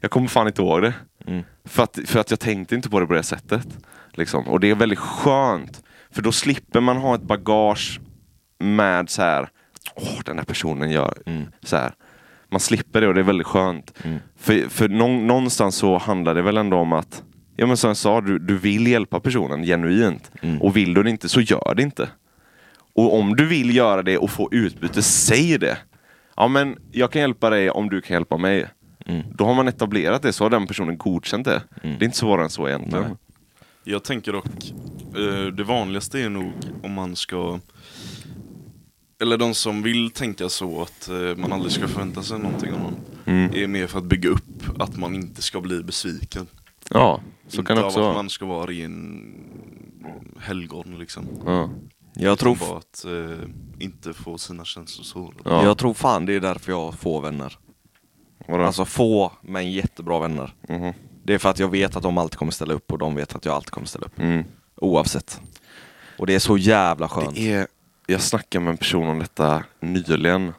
Speaker 2: jag kommer fan inte ihåg det.
Speaker 3: Mm.
Speaker 2: För, att, för att jag tänkte inte på det på det sättet. Liksom. Och det är väldigt skönt för då slipper man ha ett bagage med så här åh den här personen gör så här. Man slipper det och det är väldigt skönt. För, för nång- någonstans så handlar det väl ändå om att, ja men som jag sa, du, du vill hjälpa personen genuint. Och vill du det inte så gör det inte. Och om du vill göra det och få utbyte, säg det. Ja men jag kan hjälpa dig om du kan hjälpa mig. Då har man etablerat det, så har den personen godkänt det. Det är inte svårare än så egentligen.
Speaker 3: Nej.
Speaker 1: Jag tänker dock, eh, det vanligaste är nog om man ska eller de som vill tänka så att eh, man aldrig ska förvänta sig någonting av någon
Speaker 2: Mm.
Speaker 1: är mer för att bygga upp att man inte ska bli besviken.
Speaker 2: Ja, så
Speaker 1: inte
Speaker 2: kan det också
Speaker 1: av
Speaker 2: vara.
Speaker 1: att man ska vara ren helgon liksom.
Speaker 2: Ja.
Speaker 3: Jag tror,
Speaker 1: Bara att eh, inte få sina känslor sårade.
Speaker 2: Ja.
Speaker 3: jag tror fan det är därför jag har få vänner.
Speaker 2: Vadå?
Speaker 3: Alltså få, men jättebra vänner.
Speaker 2: Mhm.
Speaker 3: Det är för att jag vet att de alltid kommer ställa upp och de vet att jag alltid kommer ställa upp.
Speaker 2: Mm.
Speaker 3: Oavsett. Och det är så jävla skönt.
Speaker 2: Det är, jag snackade med en person om detta nyligen.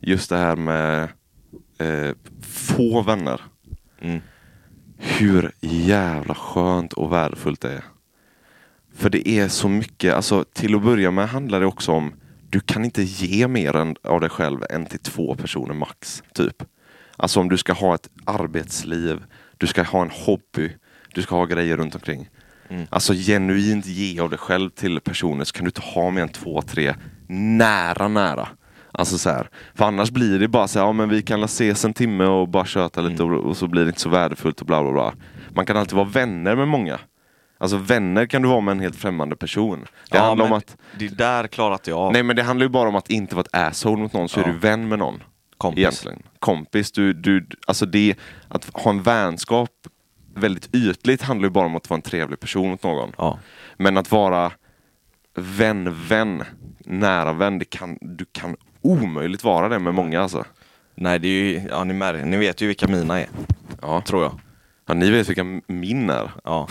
Speaker 2: Just det här med eh, få vänner.
Speaker 3: Mm.
Speaker 2: Hur jävla skönt och värdefullt det är. För det är så mycket, alltså till att börja med handlar det också om du kan inte ge mer än, av dig själv än till två personer max, typ. Alltså om du ska ha ett arbetsliv, du ska ha en hobby, du ska ha grejer runt omkring. Alltså genuint ge av dig själv till personer så kan du inte ha mer än två, tre nära, nära. Alltså så här. För annars blir det bara så här, ja men vi kan la ses en timme och bara köta lite och, och så blir det inte så värdefullt och bla bla bla. Man kan alltid vara vänner med många. Alltså vänner kan du vara med en helt främmande person. Det
Speaker 3: ja,
Speaker 2: handlar
Speaker 3: men
Speaker 2: om att,
Speaker 3: Det där klarar inte jag av.
Speaker 2: nej men det handlar ju bara om att inte vara ett asshole mot någon så
Speaker 3: Ja.
Speaker 2: är du vän med någon.
Speaker 3: Kompis.
Speaker 2: Egentligen. Kompis, du, du, alltså det, att ha en vänskap väldigt ytligt handlar ju bara om att vara en trevlig person mot någon.
Speaker 3: Ja.
Speaker 2: Men att vara vän, vän, nära vän, det kan, du kan omöjligt vara det med många alltså.
Speaker 3: Nej, det är ju, ja ni märker, ni vet ju vilka mina är.
Speaker 2: Ja.
Speaker 3: Tror jag.
Speaker 2: ja ni vet vilka min är.
Speaker 3: Ja.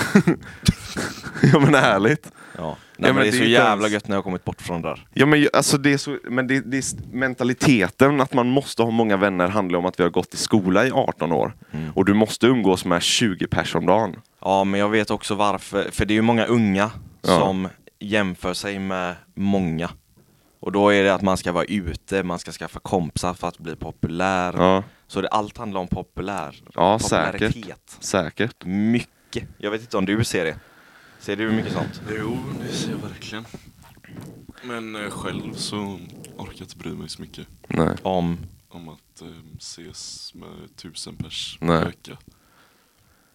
Speaker 2: ja men ärligt.
Speaker 3: ja.
Speaker 2: Ja,
Speaker 3: Nej, men
Speaker 2: men
Speaker 3: det
Speaker 2: det
Speaker 3: är så
Speaker 2: är ju inte
Speaker 3: jävla
Speaker 2: ens-
Speaker 3: gött när jag har kommit bort från det där.
Speaker 2: Ja men ju- alltså det är så, men det, det är s- mentaliteten att man måste ha många vänner handlar om att vi har gått i skola i 18 år. Och du måste umgås med 20 pers om dagen.
Speaker 3: Ja, men jag vet också varför. För det är ju många unga
Speaker 2: Ja.
Speaker 3: som jämför sig med många. Och då är det att man ska vara ute, man ska skaffa kompisar för att bli populär.
Speaker 2: Ja,
Speaker 3: Så det, allt handlar om populär.
Speaker 2: ja
Speaker 3: popularitet.
Speaker 2: säkert. Säkert.
Speaker 3: Mycket. Jag vet inte om du ser det. Ser du mycket sånt?
Speaker 1: Jo, det ser jag verkligen. Men eh, själv så orkar jag inte bry mig så mycket
Speaker 2: Nej.
Speaker 3: Om...
Speaker 1: om att eh, ses med tusen pers
Speaker 2: Nej.
Speaker 1: per vecka.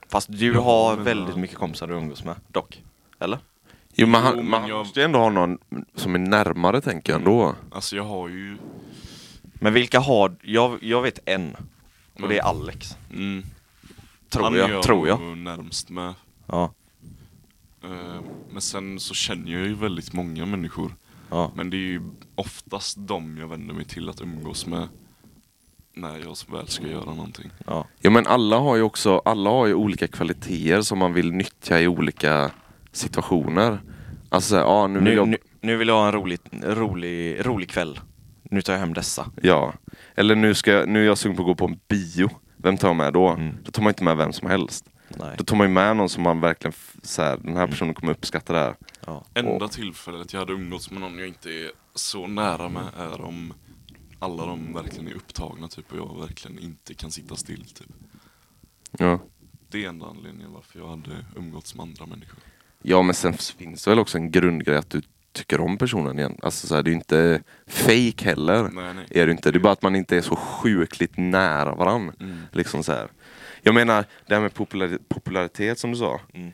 Speaker 3: Fast du
Speaker 1: Ja,
Speaker 3: har
Speaker 1: men-
Speaker 3: väldigt mycket kompisar du umgås med, dock. Eller?
Speaker 2: Jo men, han, Mm.
Speaker 1: Jo, men
Speaker 2: man
Speaker 1: jag-
Speaker 2: måste ju ändå ha någon som är närmare tänker jag ändå.
Speaker 1: Alltså jag har ju...
Speaker 3: Men vilka har... Jag, jag vet en. Och det är Alex.
Speaker 1: Mm,
Speaker 3: Tror
Speaker 1: han är
Speaker 3: jag. Tror jag.
Speaker 1: nog närmst med.
Speaker 3: Ja.
Speaker 1: Eh, Men sen så känner jag ju väldigt många människor.
Speaker 3: ja.
Speaker 1: Men det är ju oftast dem jag vänder mig till att umgås med när jag så väl ska göra någonting.
Speaker 3: ja.
Speaker 2: Ja men alla har ju också, alla har ju olika kvaliteter som man vill nyttja i olika situationer. Alltså så här, ja nu vill
Speaker 3: Nu,
Speaker 2: jag...
Speaker 3: nu, nu vill jag ha en rolig, rolig, rolig kväll. Nu tar jag hem dessa.
Speaker 2: Ja. Eller nu, ska jag, nu är jag sugen på att gå på en bio. Vem tar jag med då? Då tar man inte med vem som helst.
Speaker 3: Nej.
Speaker 2: Då tar man ju med någon som man verkligen, f- så här, den här personen kommer uppskatta det här.
Speaker 3: Ja.
Speaker 1: Enda tillfället jag hade umgåtts med någon jag inte är så nära med är om alla de verkligen är upptagna typ och jag verkligen inte kan sitta still typ.
Speaker 2: Ja.
Speaker 1: Det är enda anledningen varför jag hade umgåtts med andra människor.
Speaker 2: Ja men sen finns det väl också en grundgrej att du tycker om personen igen. Alltså så här, det är ju inte fake heller.
Speaker 1: Nej, nej.
Speaker 2: Är det inte. Det är bara att man inte är så sjukligt nära varandra.
Speaker 1: Mm.
Speaker 2: Liksom så här. Jag menar, det här med populari- popularitet som du sa.
Speaker 1: Mm.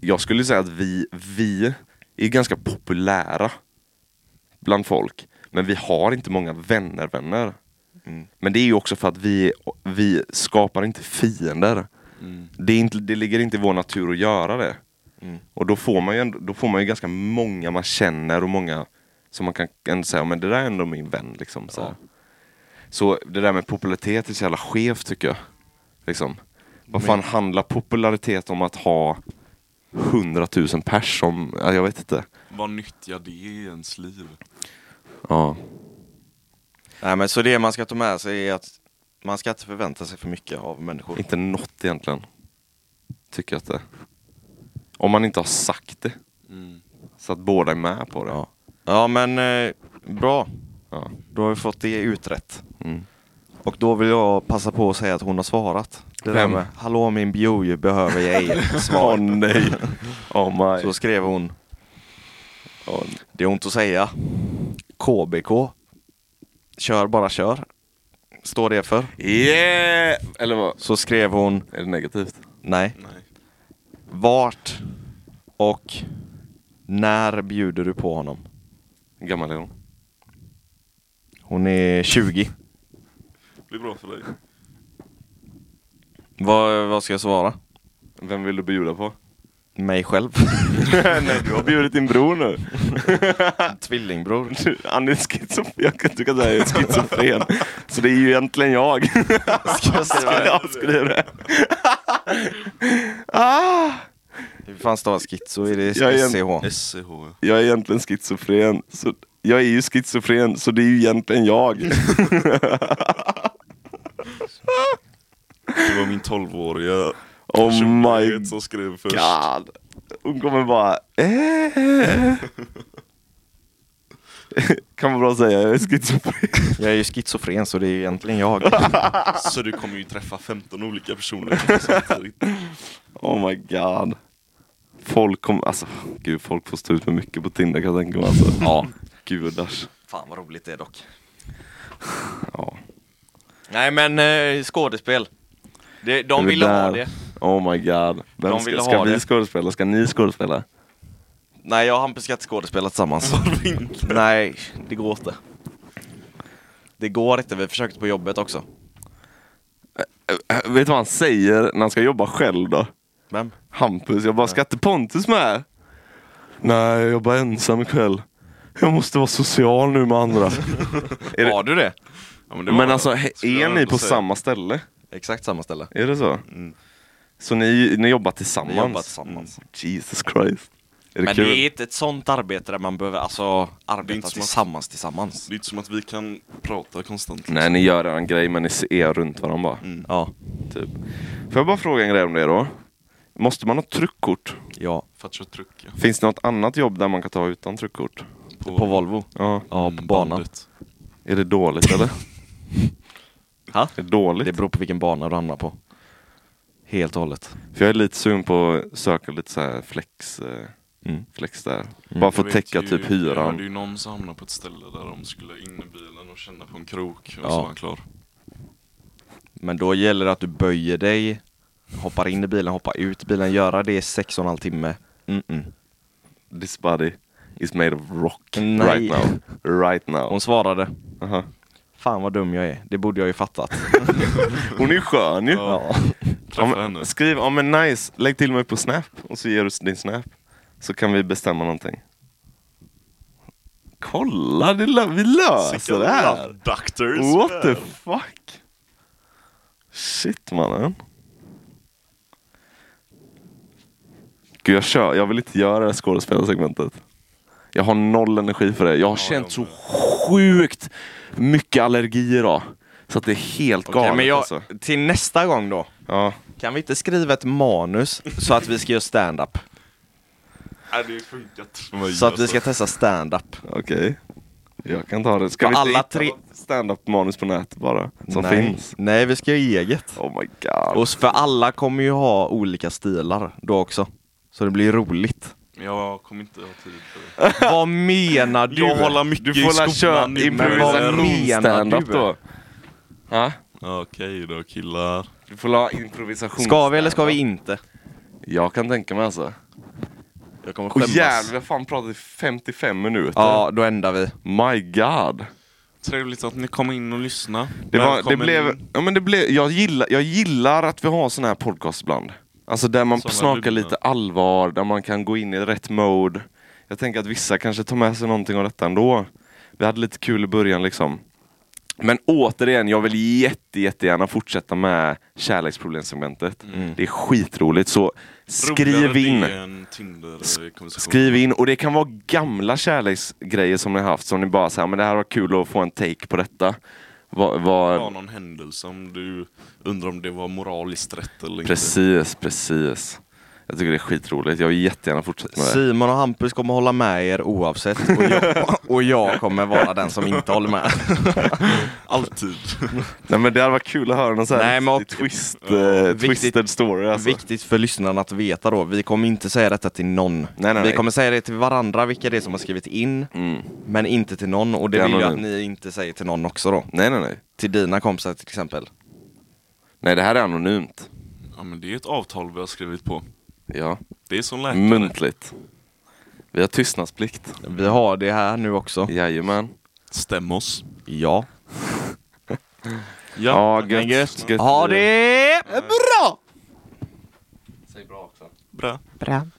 Speaker 2: Jag skulle säga att vi, vi är ganska populära bland folk. Men vi har inte många vänner-vänner.
Speaker 3: Mm.
Speaker 2: Men det är ju också för att vi, vi skapar inte fiender.
Speaker 1: Mm.
Speaker 2: Det, är inte, det ligger inte i vår natur att göra det.
Speaker 3: Mm.
Speaker 2: Och då får, man ju ändå, då får man ju ganska många man känner och många som man kan ändå säga, men det där är ändå min vän. Liksom, så, här. så det där med popularitet är så jävla skevt tycker jag. Liksom. Vad fan handlar popularitet om att ha hundratusen pers som, ja, jag vet inte.
Speaker 1: Vad nyttjar det i ens liv?
Speaker 2: Ja.
Speaker 3: Nej men så det man ska ta med sig är att man ska inte förvänta sig för mycket av människor.
Speaker 2: Inte något egentligen. Tycker jag att det är. Om man inte har sagt det.
Speaker 1: Mm.
Speaker 2: Så att båda är med på det.
Speaker 3: Ja, ja men eh, bra.
Speaker 2: Ja.
Speaker 3: Då har vi fått det utrett.
Speaker 2: Mm.
Speaker 3: Och då vill jag passa på att säga att hon har svarat. Det där
Speaker 2: Vem?
Speaker 3: med, Hallå min bio behöver jag ej svar.
Speaker 2: Åh, nej. Oh my.
Speaker 3: Så skrev hon. Det är ont att säga. KBK. Kör bara kör. Står det för.
Speaker 2: Yeah! Eller vad?
Speaker 3: Så skrev hon.
Speaker 2: Är det negativt?
Speaker 3: Nej.
Speaker 1: Nej.
Speaker 3: Vart och när bjuder du på honom?
Speaker 2: Hur gammal är hon?
Speaker 3: Hon är 20.
Speaker 1: Det blir bra för dig.
Speaker 3: Vad, vad ska jag svara?
Speaker 2: Vem vill du bjuda på?
Speaker 3: Mig själv.
Speaker 2: nej, du har bjudit din bror nu.
Speaker 3: Tvillingbror.
Speaker 2: Han är schizofren. Jag kan tycka att jag är schizofren. Så det är ju egentligen jag.
Speaker 3: Ska jag skriva det?
Speaker 2: Ja, skriv det.
Speaker 3: Hur fan stavas schizo? Är det
Speaker 2: Jag är en-
Speaker 3: SCH?
Speaker 1: SCH.
Speaker 2: Jag är egentligen schizofren. Så jag är ju schizofren, så det är ju egentligen jag.
Speaker 1: Det var min 12-åriga
Speaker 2: Oh my
Speaker 1: personlighet som skrev först.
Speaker 2: god. Hon kommer bara... Eh. kan man bra säga, jag är schizofren.
Speaker 3: Jag är ju schizofren så det är ju egentligen jag.
Speaker 1: Så du kommer ju träffa 15 olika personer samtidigt.
Speaker 2: Oh my god. Folk kommer, alltså gud folk får stå ut med mycket på Tinder kan jag tänka mig alltså. Ja. Gudars.
Speaker 3: Fan vad roligt det är dock.
Speaker 2: Ja.
Speaker 3: Nej men eh, skådespel. Det, de
Speaker 2: Är
Speaker 3: ville ha
Speaker 2: där?
Speaker 3: det.
Speaker 2: Oh my god. Vem
Speaker 3: De
Speaker 2: ska,
Speaker 3: ville
Speaker 2: ska
Speaker 3: ha
Speaker 2: vi
Speaker 3: det.
Speaker 2: skådespela? Ska ni skådespela?
Speaker 3: Nej jag och Hampus ska inte skådespela tillsammans. Nej, det går inte. Det går inte, vi försökte på jobbet också.
Speaker 2: Äh, Vet du vad han säger när han ska jobba själv då?
Speaker 3: Vem?
Speaker 2: Hampus, jag bara, ska inte Pontus med? Nej, jag jobbar ensam ikväll. Jag måste vara social nu med andra. Är det-
Speaker 3: Har du det?
Speaker 1: Ja, men det var-
Speaker 2: Men alltså, he-
Speaker 1: skulle jag
Speaker 2: är ni
Speaker 1: ändå
Speaker 2: på
Speaker 1: säga.
Speaker 2: samma ställe?
Speaker 3: Exakt samma ställe.
Speaker 2: Är det så? Så ni, ni jobbar tillsammans? Mm.
Speaker 3: Vi Mm. jobbar tillsammans.
Speaker 2: Jesus Christ. Är det
Speaker 3: Men
Speaker 2: kul?
Speaker 3: det är inte ett sånt arbete där man behöver alltså, arbeta
Speaker 1: inte som att-
Speaker 3: tillsammans tillsammans.
Speaker 1: Det är inte som att vi kan prata konstant.
Speaker 2: Nej, ni gör en grej men ni ser runt varandra bara.
Speaker 1: Mm.
Speaker 3: Ja,
Speaker 2: Typ. Får jag bara fråga en grej om det då? Måste man ha tryckkort?
Speaker 3: ja.
Speaker 1: För att köra truck ja.
Speaker 2: Finns det något annat jobb där man kan ta utan tryckkort?
Speaker 3: På Volvo.
Speaker 2: Ja.
Speaker 3: Ja, på
Speaker 1: mm,
Speaker 3: banan.
Speaker 1: bandet.
Speaker 2: Är det dåligt eller?
Speaker 3: Ha?
Speaker 2: Är det dåligt?
Speaker 3: Det beror på vilken bana du hamnar på. Helt och hållet.
Speaker 2: För jag är lite sugen på att söka lite så här flex, eh,
Speaker 3: Mm.
Speaker 2: flex där. Bara för
Speaker 1: Jag
Speaker 2: att
Speaker 1: vet
Speaker 2: täcka
Speaker 1: ju-
Speaker 2: typ
Speaker 1: Jag hörde ju
Speaker 2: hyran.
Speaker 1: någon som hamnade på ett ställe där de skulle in i bilen och känna på en krok och
Speaker 3: Ja.
Speaker 1: så var han klar.
Speaker 3: Men då gäller det att du böjer dig, hoppar in i bilen, hoppar ut i bilen, göra det i sex och en halv timme. Mm-mm.
Speaker 2: This body is made of rock
Speaker 3: Nej.
Speaker 2: right now. Right now.
Speaker 3: Hon svarade,
Speaker 2: Aha.
Speaker 3: fan vad dum jag är, det borde jag ju fattat.
Speaker 2: Hon är ju skön ju.
Speaker 1: Ja.
Speaker 2: Ja,
Speaker 1: Träffa henne.
Speaker 2: men, skriv, ja men nice, lägg till mig på Snap och så ger du din Snap. Så kan vi bestämma någonting. Kolla, det lö- vi löser alltså, det här!
Speaker 1: Doctors.
Speaker 2: What the fuck? Shit mannen. Gud jag kör, jag vill inte göra det här skådespelarsegmentet. Jag har noll energi för det. Jag har känt så
Speaker 1: jag
Speaker 2: sjukt mycket allergi idag. Så att det är helt
Speaker 3: Okej,
Speaker 2: galet
Speaker 3: men jag,
Speaker 2: alltså.
Speaker 3: till nästa gång då,
Speaker 2: Ja.
Speaker 3: kan vi inte skriva ett manus så att vi ska göra stand-up?
Speaker 1: Nej, det funkar inte för mig.
Speaker 3: Så att vi ska
Speaker 1: alltså.
Speaker 3: testa stand-up.
Speaker 2: Okej. Jag kan ta det. Ska
Speaker 3: För
Speaker 2: vi
Speaker 3: alla
Speaker 2: alla
Speaker 3: tre-
Speaker 2: tre stand-up manus på nätet bara? Som
Speaker 3: Nej.
Speaker 2: finns?
Speaker 3: Nej, vi ska göra eget.
Speaker 2: Oh my god.
Speaker 3: Och s- för alla kommer ju ha olika stilar då också. Så det blir roligt.
Speaker 1: Men jag kommer inte ha tid för det.
Speaker 3: Vad menar du?
Speaker 1: Jag håller mycket
Speaker 2: Du får
Speaker 1: i
Speaker 2: la köra
Speaker 1: skolan nu. men
Speaker 3: vad
Speaker 1: vad-
Speaker 3: menar
Speaker 2: improvisationsstandup
Speaker 3: du?
Speaker 2: då. Ja,
Speaker 1: Ja, Okej då killar.
Speaker 2: du får la improvisation.
Speaker 3: Ska vi eller ska vi inte?
Speaker 2: Jag kan tänka mig alltså.
Speaker 3: Jag kommer
Speaker 2: Åh jävlar, vi har fan pratat i 55 minuter.
Speaker 3: ja, då ändrar vi.
Speaker 2: My god.
Speaker 1: Trevligt att ni kom in och lyssnade.
Speaker 2: Det, var, det
Speaker 1: Välkommen
Speaker 2: blev,
Speaker 1: in.
Speaker 2: ja, men det blev, jag, gillar, jag gillar att vi har såna här podcast ibland. Alltså där man
Speaker 1: Såna
Speaker 2: snakar
Speaker 1: dubbla.
Speaker 2: lite allvar, där man kan gå in i rätt mode. Jag tänker att vissa kanske tar med sig någonting av detta ändå. Vi hade lite kul i början liksom. Men återigen, jag vill jätte, jättegärna fortsätta med kärleksproblemsegmentet. Det är skitroligt, så skriv
Speaker 1: Mm. Roligare
Speaker 2: in.
Speaker 1: det än Tinder-konversation.
Speaker 2: Skriv in, och det kan vara gamla kärleksgrejer som ni har haft som ni bara säger, men det här var kul att få en take på detta. Vad, vad,
Speaker 1: Ja, någon händelse om du undrar om det var moraliskt rätt eller inte.
Speaker 2: Precis, precis. Jag tycker det är skitroligt. Jag vill jättegärna fortsätta med det.
Speaker 3: Simon och Hampus kommer hålla med er oavsett och jag, och jag kommer vara den som inte håller med.
Speaker 1: Alltid.
Speaker 2: Nej men det hade varit kul att höra någon sån här
Speaker 3: Nej, men
Speaker 2: riktig twist, eh,
Speaker 3: Viktigt-
Speaker 2: twisted story alltså.
Speaker 3: Viktigt för lyssnarna att veta då, vi kommer inte säga detta till någon.
Speaker 2: nej, nej.
Speaker 3: Vi kommer säga det till varandra, vilka det är som har skrivit in,
Speaker 2: Mm.
Speaker 3: men inte till någon. Och det,
Speaker 2: Det är
Speaker 3: vill jag att
Speaker 2: anonymt.
Speaker 3: ni inte säger till någon också då.
Speaker 2: Nej nej nej.
Speaker 3: Till dina kompisar till exempel.
Speaker 2: Nej det här är anonymt.
Speaker 1: Ja men det är ett avtal vi har skrivit på.
Speaker 2: Ja.
Speaker 1: Det är som
Speaker 2: Mm.
Speaker 1: läkare.
Speaker 2: Muntligt. Vi har tystnadsplikt.
Speaker 3: Vi har det här nu också.
Speaker 2: Jajamän.
Speaker 1: Stäm oss.
Speaker 3: Ja.
Speaker 2: Ja, gött. gött.
Speaker 3: Ha det bra!
Speaker 1: Bra.
Speaker 4: Bra.